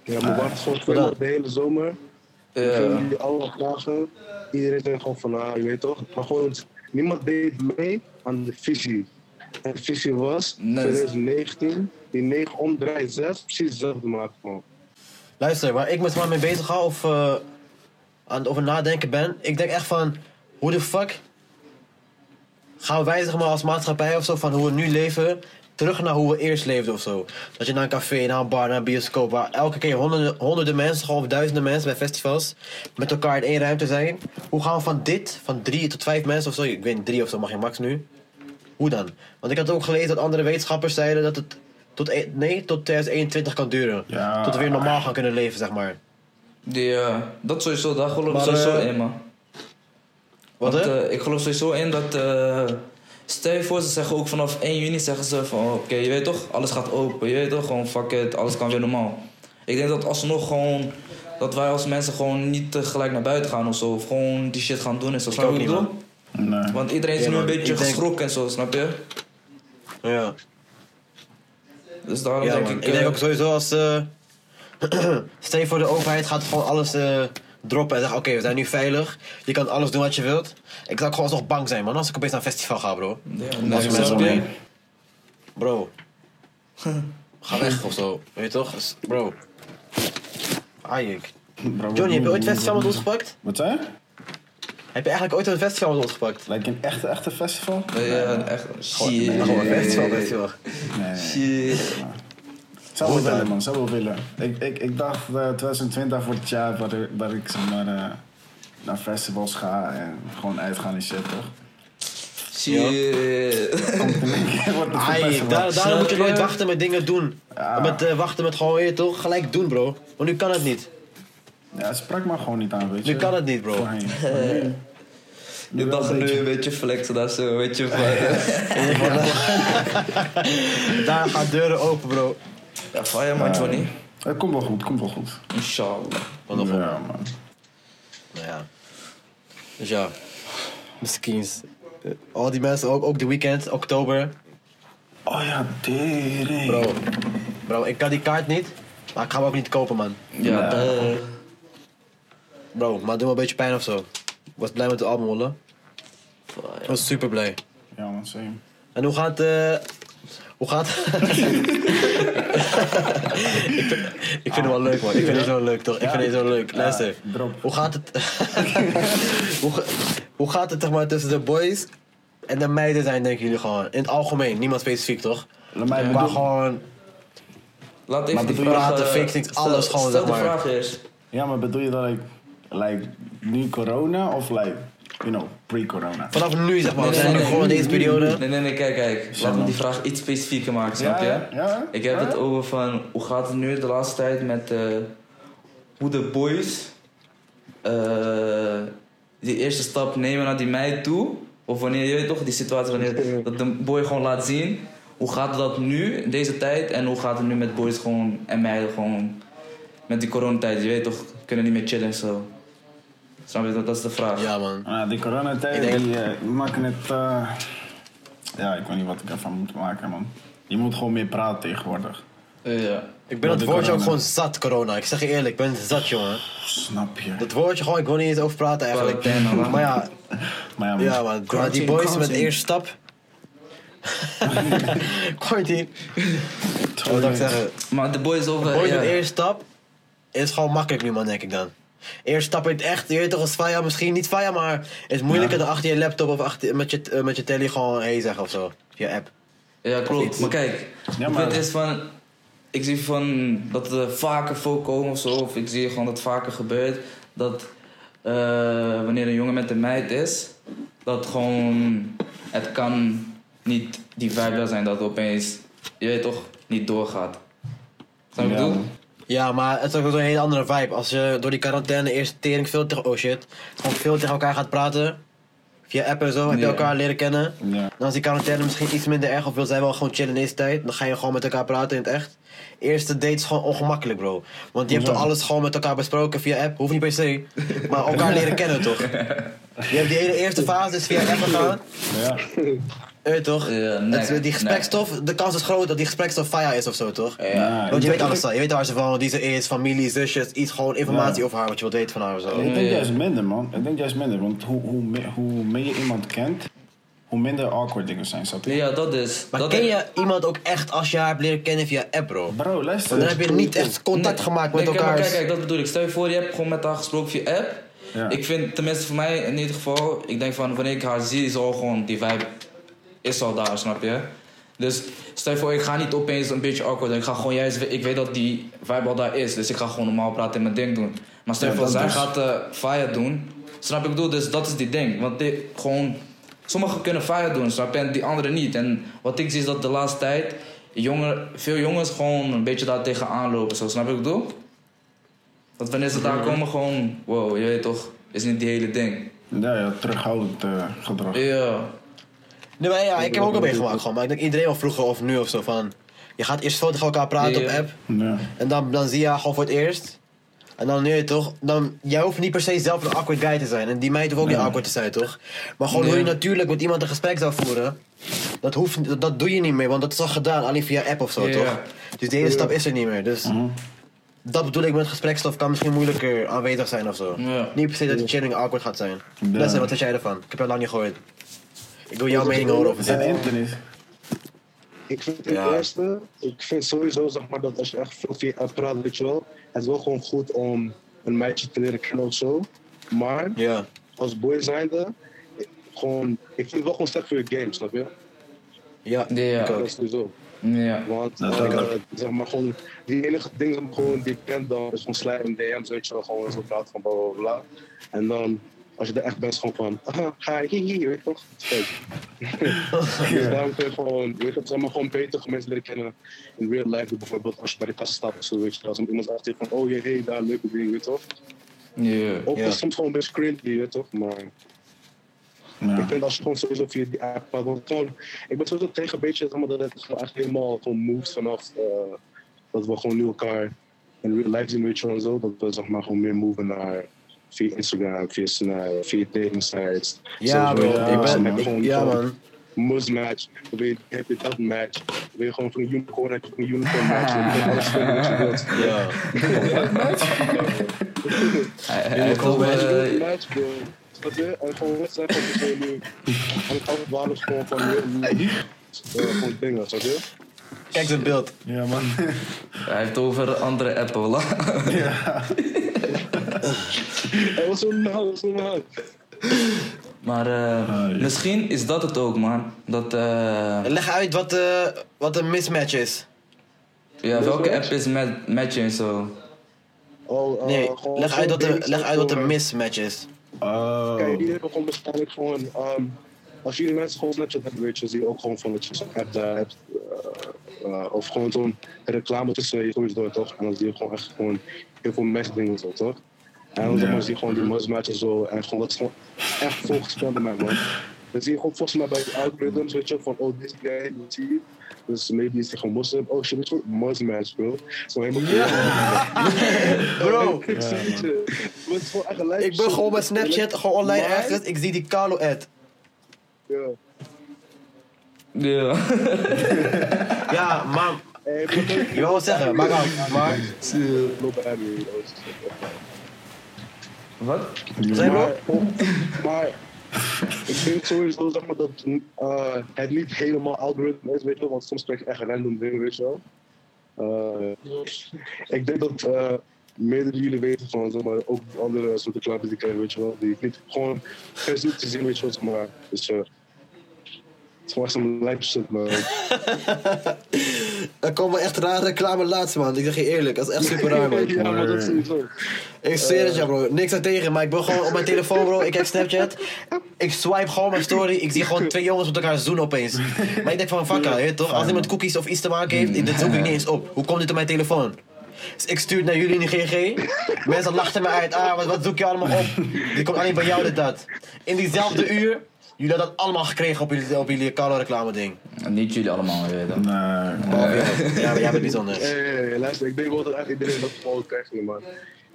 Speaker 4: Ja, maar wacht gewoon twee maanden de hele zomer.
Speaker 3: Ja.
Speaker 4: Ik jullie allemaal vragen. Iedereen zei gewoon van, ah, je weet toch. Maar gewoon, niemand deed mee aan de visie. En de visie was,
Speaker 3: Nee.
Speaker 4: 2019, die 9 omdraait 6, precies hetzelfde maken gewoon.
Speaker 1: Luister, waar ik me gewoon mee bezig hou of eh, aan het over nadenken ben, ik denk echt van, hoe de fuck gaan wij zeg maar als maatschappij of zo van hoe we nu leven, terug naar hoe we eerst leefden of zo. Dat je naar een café, naar een bar, naar een bioscoop, waar elke keer honderden, honderden mensen gewoon, of duizenden mensen bij festivals met elkaar in één ruimte zijn. Hoe gaan we van dit, van drie tot vijf mensen of zo, ik weet niet, drie of zo mag je max nu, hoe dan? Want ik had ook gelezen dat andere wetenschappers zeiden dat het tot, e- nee, tot 2021 kan duren.
Speaker 2: Ja.
Speaker 1: Tot we weer normaal gaan kunnen leven, zeg maar.
Speaker 3: Die, eh, dat sowieso, daar geloof ik
Speaker 1: Maar,
Speaker 3: sowieso
Speaker 1: eh,
Speaker 3: in, man.
Speaker 1: Wat
Speaker 3: Want,
Speaker 1: hè?
Speaker 3: eh, ik geloof sowieso in dat. eh, stel je voor, ze zeggen ook vanaf 1 juni zeggen ze van oké, je weet toch, alles gaat open. Je weet toch, gewoon fuck it, alles kan weer normaal. Ik denk dat alsnog gewoon. Dat wij als mensen gewoon niet eh, gelijk naar buiten gaan of zo. Of gewoon die shit gaan doen en zo. Snap je
Speaker 1: ook
Speaker 3: wat ik
Speaker 1: niet,
Speaker 3: bedoel?
Speaker 2: Nee.
Speaker 3: Want iedereen is
Speaker 1: Ja,
Speaker 3: nu een
Speaker 1: man,
Speaker 3: beetje
Speaker 1: ik denk-
Speaker 3: geschrokken en zo, snap je?
Speaker 1: ja.
Speaker 3: Dus daarom
Speaker 1: Ja,
Speaker 3: denk
Speaker 1: man.
Speaker 3: ik.
Speaker 1: Ik, denk
Speaker 3: eh,
Speaker 1: ook sowieso als. eh stel je voor de overheid gaat gewoon alles eh, droppen en zeggen: Oké, we zijn nu veilig. Je kan alles doen wat je wilt. Ik zou ook gewoon nog bang zijn, man. Als ik opeens naar een festival ga, bro.
Speaker 3: ja,
Speaker 1: Als
Speaker 3: nee,
Speaker 1: mensen
Speaker 3: snap
Speaker 1: om me
Speaker 3: je?
Speaker 1: heen. Bro. ga weg of zo. Weet je toch? Dus, Bro. Ayik.
Speaker 2: Bro,
Speaker 1: Johnny, heb je ooit een festival met ons gepakt?
Speaker 2: Wat zei je?
Speaker 1: Heb je eigenlijk ooit een festival met ons gepakt?
Speaker 2: Lijkt een echte, echte festival?
Speaker 3: Nee, Ja, echt.
Speaker 1: Ja, gewoon een festival,
Speaker 3: Shit.
Speaker 1: festival.
Speaker 2: Nee.
Speaker 3: Shit.
Speaker 2: Ik zou wel willen, man. Ik zou wel willen. Ik, ik, ik dacht eh, 2020 wordt het jaar waar, ik- waar ik zeg maar, eh, naar festivals ga en gewoon uitgaan en shit, toch?
Speaker 3: Shit.
Speaker 2: wordt het een
Speaker 1: Ai,
Speaker 2: festival.
Speaker 1: daar, daarom
Speaker 3: Snap
Speaker 1: moet je nooit
Speaker 3: je?
Speaker 1: wachten met dingen doen.
Speaker 2: Ja.
Speaker 1: Met eh, wachten met gewoon weer toch gelijk doen, bro. Want nu kan het niet.
Speaker 2: Ja, het sprak me gewoon niet aan, weet je.
Speaker 1: Nu kan het niet, bro.
Speaker 2: Voorheen. Voorheen.
Speaker 3: Je dacht nu een beetje flexen daar zo, weet je. van-
Speaker 1: Daar gaan deuren open, bro.
Speaker 3: Ja, fire man, Johnny.
Speaker 2: Het komt wel goed, het komt wel goed.
Speaker 3: Inshallah.
Speaker 1: Wat nog op.
Speaker 2: Ja, man.
Speaker 1: Nou ja. Dus ja. Misschien. is- eh, Al die mensen, ook, ook de weekend, oktober.
Speaker 2: Oh ja, tering.
Speaker 1: Bro. Bro, ik kan die kaart niet. Maar ik ga hem ook niet kopen, man.
Speaker 3: Ja, eh,
Speaker 1: Bro, maar doe me een beetje pijn of zo. Ik was blij met het album, hoor. Ik was super blij.
Speaker 2: Ja, man, same.
Speaker 1: En hoe gaat. eh hoe gaat. ik vind, ik vind hem wel leuk, man. Ik vind deze wel leuk, toch? Ik vind deze wel leuk. Luister.
Speaker 2: drop.
Speaker 1: Hoe gaat het. hoe, ga- hoe gaat het, zeg maar, tussen de boys en de meiden zijn, denken jullie gewoon? In het algemeen, niemand specifiek, toch?
Speaker 2: Laat mij
Speaker 1: Maar
Speaker 2: bedoel-
Speaker 1: gewoon.
Speaker 3: laat even
Speaker 1: Maar
Speaker 3: die
Speaker 1: bedoel je
Speaker 3: vraag...
Speaker 1: laten
Speaker 3: eh,
Speaker 1: fixings,
Speaker 3: stel-
Speaker 1: alles gewoon,
Speaker 3: Stel
Speaker 1: zeg
Speaker 3: de
Speaker 1: maar.
Speaker 3: vraag eerst.
Speaker 2: Ja, maar bedoel je dat ik, like, nu corona of like, you know, pre-corona.
Speaker 1: Vanaf nu zeg maar,
Speaker 3: Nee,
Speaker 1: we
Speaker 3: nee,
Speaker 1: zijn nu
Speaker 3: nee.
Speaker 1: gewoon in deze periode.
Speaker 3: Nee, nee, nee, kijk, kijk. Laat me die vraag iets specifieker maken, snap je?
Speaker 2: ja, ja.
Speaker 3: Ik heb het over van hoe gaat het nu de laatste tijd met eh, hoe de boys eh, die eerste stap nemen naar die meid toe. Of wanneer je weet toch die situatie, wanneer dat de boy gewoon laat zien. Hoe gaat dat nu, in deze tijd? En hoe gaat het nu met boys gewoon en meiden gewoon met die coronatijd? Je weet toch, kunnen niet meer chillen en zo. Snap je, dat, dat is de vraag.
Speaker 1: Ja man.
Speaker 2: Ah, die coronatijd,
Speaker 1: Ik denk-
Speaker 2: die eh, maken het... eh, ja, ik weet niet wat ik ervan moet maken, man. Je moet gewoon meer praten tegenwoordig.
Speaker 3: Ja.
Speaker 1: Ik ben dat
Speaker 2: Wat de
Speaker 1: woordje ook
Speaker 2: corona.
Speaker 1: gewoon zat, corona. Ik zeg je eerlijk, ik ben het zat, jongen.
Speaker 2: Snap je?
Speaker 1: Dat woordje gewoon, ik wil niet eens over praten eigenlijk.
Speaker 3: Quarantaine, man.
Speaker 1: Maar ja,
Speaker 2: Maar ja,
Speaker 1: ja man. Maar die boys met de eerste stap. Quarantine. Wat zou ik zeggen?
Speaker 3: Maar de boys over...
Speaker 1: Boys
Speaker 3: Eh, ja.
Speaker 1: met de eerste stap is gewoon makkelijk nu man, denk ik dan. Eerste stap in het echt, je weet toch als Faya, misschien niet Faya, maar het is moeilijker dan achter je laptop of achter, met, je, eh, met je telly gewoon hey zeggen of zo. Je app.
Speaker 3: Ja, klopt. Maar kijk,
Speaker 2: Ja,
Speaker 3: het
Speaker 2: maar-
Speaker 3: punt is van... Ik zie van dat het vaker voorkomt of zo, of ik zie gewoon dat het vaker gebeurt. Dat eh, wanneer een jongen met een meid is, dat gewoon... Het kan niet die vibe wel zijn dat het opeens, je weet toch, niet doorgaat. Snap je wat ik
Speaker 2: Ja,
Speaker 3: bedoel?
Speaker 2: man.
Speaker 1: Ja, maar het is ook zo'n hele andere vibe. Als je door die quarantaine eerst tering veel tegen... Oh shit. Gewoon veel tegen elkaar gaat praten. Via app en zo. Heb je
Speaker 3: Ja.
Speaker 1: elkaar leren kennen.
Speaker 2: Ja.
Speaker 1: Dan is die quarantaine misschien iets minder erg. Of wil zij wel gewoon chillen in deze tijd. Dan ga je gewoon met elkaar praten in het echt. Eerste date is gewoon ongemakkelijk, bro. Want je hebt toch alles gewoon met elkaar besproken via app. Hoeft niet per se. Maar elkaar leren kennen, toch? Je hebt die hele eerste fase is via app gegaan.
Speaker 2: Ja.
Speaker 1: Eh, toch?
Speaker 3: Ja, nee,
Speaker 1: Het is- die gesprekstof, de kans is groot dat die gesprekstof fire is of zo, toch?
Speaker 2: Ja,
Speaker 1: Want je
Speaker 2: ik
Speaker 1: weet alles al. Je weet waar ze van, die ze is, familie, zusjes, iets, gewoon informatie over haar, wat je wilt weten van haar of zo.
Speaker 2: Ik denk juist minder, man. Ik denk juist minder, want hoe, hoe, me- hoe meer je iemand kent, hoe minder awkward dingen zijn, snap je?
Speaker 3: Ja, dat is.
Speaker 1: Maar
Speaker 3: dat
Speaker 1: ken
Speaker 3: is-
Speaker 1: je iemand ook echt als je haar hebt leren kennen via app, bro? Want
Speaker 2: Bro,
Speaker 1: dan
Speaker 2: luister.
Speaker 1: heb je niet echt contact
Speaker 3: Nee,
Speaker 1: gemaakt
Speaker 3: nee,
Speaker 1: met
Speaker 3: Kijk,
Speaker 1: elkaar.
Speaker 3: maar kijk, kijk, dat bedoel ik. Stel je voor, je hebt gewoon met haar gesproken via app.
Speaker 2: Ja.
Speaker 3: Ik vind, tenminste voor mij in ieder geval, ik denk van wanneer ik haar zie, is al gewoon die vibe is al daar, snap je? Dus stel je voor, ik ga niet opeens een beetje awkward. doen. Ik ga gewoon juist, ik weet dat die vibe al daar is, dus ik ga gewoon normaal praten en mijn ding doen. Maar stel je
Speaker 2: Ja,
Speaker 3: voor,
Speaker 2: dat
Speaker 3: zij
Speaker 2: dus.
Speaker 3: gaat eh fire doen, snap je? wat Ik bedoel, dus dat is die ding. Want die, gewoon, sommigen kunnen fire doen, snap je? En die anderen niet. En wat ik zie is dat de laatste tijd jongen, veel jongens gewoon een beetje daar tegenaan lopen, zo, snap je? wat Ik bedoel. Want wanneer ze daar komen, gewoon, wow, je weet toch, is niet die hele ding.
Speaker 2: Ja, ja, terughoudend eh, gedrag.
Speaker 3: Ja.
Speaker 1: Nee, maar ja, ik heb ook al meegemaakt gewoon. Maar ik denk iedereen wel vroeger of nu of zo van... Je gaat eerst veel tegen elkaar praten
Speaker 3: Ja.
Speaker 1: op app.
Speaker 2: Ja.
Speaker 1: En dan, dan zie je haar gewoon voor het eerst. En dan nu toch, dan, jij hoeft niet per se zelf een awkward guy te zijn. En die meid hoeft ook niet awkward te zijn, toch? Maar gewoon hoe je
Speaker 3: Nee.
Speaker 1: natuurlijk met iemand een gesprek zou voeren, dat, hoeft, dat, dat doe je niet meer, want dat is al gedaan, alleen via app of zo,
Speaker 3: Ja. Mhm.
Speaker 1: toch? Dus die hele stap is er niet meer. Dus dat bedoel ik met gesprekstof kan misschien moeilijker aanwezig zijn of zo.
Speaker 3: Ja.
Speaker 1: Niet per se dat de chilling awkward gaat zijn.
Speaker 2: Ja.
Speaker 1: Lessen, wat vind jij ervan? Ik heb jou lang niet gehoord. Ik wil jouw mening horen over
Speaker 2: Het
Speaker 1: dit.
Speaker 2: internet.
Speaker 4: Ik vind ten
Speaker 1: Ja.
Speaker 4: eerste, ik vind sowieso zeg maar dat als je echt veel via app praat, weet je wel, het is wel gewoon goed om een meisje te leren kennen of zo. Maar
Speaker 1: Ja.
Speaker 4: als boy zijnde, ik- gewoon, ik vind het wel gewoon slecht voor je game, snap je?
Speaker 1: Ja,
Speaker 3: Ja.
Speaker 1: ik ook.
Speaker 4: Dat is sowieso.
Speaker 3: Ja.
Speaker 4: Want
Speaker 2: Nou, Dat
Speaker 4: eh,
Speaker 2: vind ik ook.
Speaker 4: zeg maar gewoon, die enige ding zeg maar, gewoon, die ik ken dan is gewoon slijm in DM's, weet je wel, gewoon zo praten van bla bla bla. En dan, als je er echt bent, gewoon van, ah, hi, hi, hi, weet je toch? Spijt. dus daarom kun je gewoon, weet je, het zijn maar gewoon beter mensen leren kennen in real life, bijvoorbeeld als je bij de kassa staat of zo, weet je wel. Als iemand zegt tegen van, oh jee, hey, daar, leuke ding, weet je toch?
Speaker 3: Ja.
Speaker 4: Ook
Speaker 1: Ja.
Speaker 4: is soms gewoon best cringy, weet je toch? Maar ik vind als je gewoon sowieso via die app praat, want gewoon, ik ben sowieso tegen een beetje zeg maar, dat het gewoon echt helemaal gewoon moves vanaf eh, dat we gewoon nu elkaar in real life zien, weet je wel, en zo, dat we zeg maar gewoon meer moven naar via Instagram, via Snap, via dating sites.
Speaker 1: Ja, bro.
Speaker 4: Sowieso,
Speaker 2: ja,
Speaker 1: ik ben,
Speaker 4: maar gewoon-
Speaker 1: ja,
Speaker 4: gewoon
Speaker 1: man.
Speaker 4: Must match, wil je heb je dat match, wil je gewoon van een unicorn, heb je een unicorn match, wil je alles vinden wat je wilt.
Speaker 1: Ja.
Speaker 3: Hij- hij heeft
Speaker 1: Cool,
Speaker 3: toch,
Speaker 1: man.
Speaker 3: eh,
Speaker 4: match, bro. Snap je? En gewoon wedstrijd van de nu. En ik had het waarlijk gewoon van heel gewoon dingen, snap je?
Speaker 1: Kijk zijn beeld.
Speaker 2: Ja, man.
Speaker 3: hij heeft over andere appen, hoor.
Speaker 4: Hij was zo nauw, was zo nauw.
Speaker 3: Maar eh, misschien is dat het ook, man. Dat, eh,
Speaker 1: Leg uit wat, eh, wat een mismatch is.
Speaker 3: ja, welke app is met matchen en zo?
Speaker 4: Oh, eh,
Speaker 1: Nee,
Speaker 4: gewoon
Speaker 1: leg uit,
Speaker 4: zo'n
Speaker 1: wat
Speaker 4: ding,
Speaker 1: een, leg
Speaker 4: zeg
Speaker 1: uit wat
Speaker 4: maar.
Speaker 1: een mismatch is.
Speaker 2: Oh.
Speaker 4: Kijk, iedereen begon waarschijnlijk gewoon. ehm, als jullie mensen gewoon Snapchat hebben, weet je, zie je ook gewoon van dat je zo'n app daar hebt. eh, eh, of gewoon zo'n reclame tussen je groeit door, toch? En dan zie je gewoon echt gewoon heel veel matchdingen zo, toch? En dan
Speaker 2: Ja.
Speaker 4: zie je gewoon die mismatchen zo. En gewoon dat is gewoon echt volgespeeld bij mij, man. Dan zie je gewoon volgens mij bij de algoritmes, weet je, van oh, dit guy, dit zie je. Dus maybe is hij gewoon moslim. Oh shit, weet je wat? Mismatch, bro. Zo helemaal...
Speaker 1: Bro,
Speaker 4: Ik zie het je. Maar het is gewoon echt een lijp
Speaker 1: ik ben
Speaker 4: shit.
Speaker 1: gewoon met Snapchat gewoon online
Speaker 4: Maar-
Speaker 1: ergens. Ik zie die Carlo-ad.
Speaker 4: Ja.
Speaker 3: Ja.
Speaker 1: Ja, maar
Speaker 4: Hey, maar dat-
Speaker 1: je wil wat zeggen, maak uit. Maar,
Speaker 4: Loop bij hem, joh. Dat is-
Speaker 3: Wat?
Speaker 1: zijn bro?
Speaker 4: Maar ik denk sowieso zeg maar, dat eh, het niet helemaal algoritme is, weet je wel, want soms krijg je echt random dingen, weet je wel. Eh, ik denk dat eh meerdere jullie weten van zeg maar, ook andere soorten klappen die ik krijg, weet je wel, die ik niet gewoon geen zin te zien, weet je wel, zeg maar. Dus eh, het is gewoon echt een lijp shit, man.
Speaker 1: Er komen echt rare reclame laatst, man. Ik zeg je eerlijk, dat is echt super raar, man.
Speaker 4: ja, maar dat sowieso.
Speaker 1: Ik zweer het je, bro. Niks aan tegen, maar ik ben gewoon op mijn telefoon, bro. Ik kijk Snapchat. Ik swipe gewoon mijn story. Ik zie gewoon twee jongens met elkaar zoenen opeens. Maar ik denk van, fuck, hè, toch? Als iemand cookies of iets te maken heeft, dit zoek ik niet eens op. Hoe komt dit op mijn telefoon? Dus ik stuur het naar jullie in de GG. Mensen lachten me uit. Ah, wat, wat zoek je allemaal op? Dit komt alleen bij jou, dit, dat. In diezelfde uur, jullie hadden dat allemaal gekregen op jullie, op jullie reclame ding.
Speaker 3: Niet jullie allemaal, je weet dat.
Speaker 2: Nee.
Speaker 1: Ja, maar jij bent bijzonder.
Speaker 4: Hé, hé, hé, luister, ik denk wel dat echt iedereen dat gewoon krijgt, nu, man.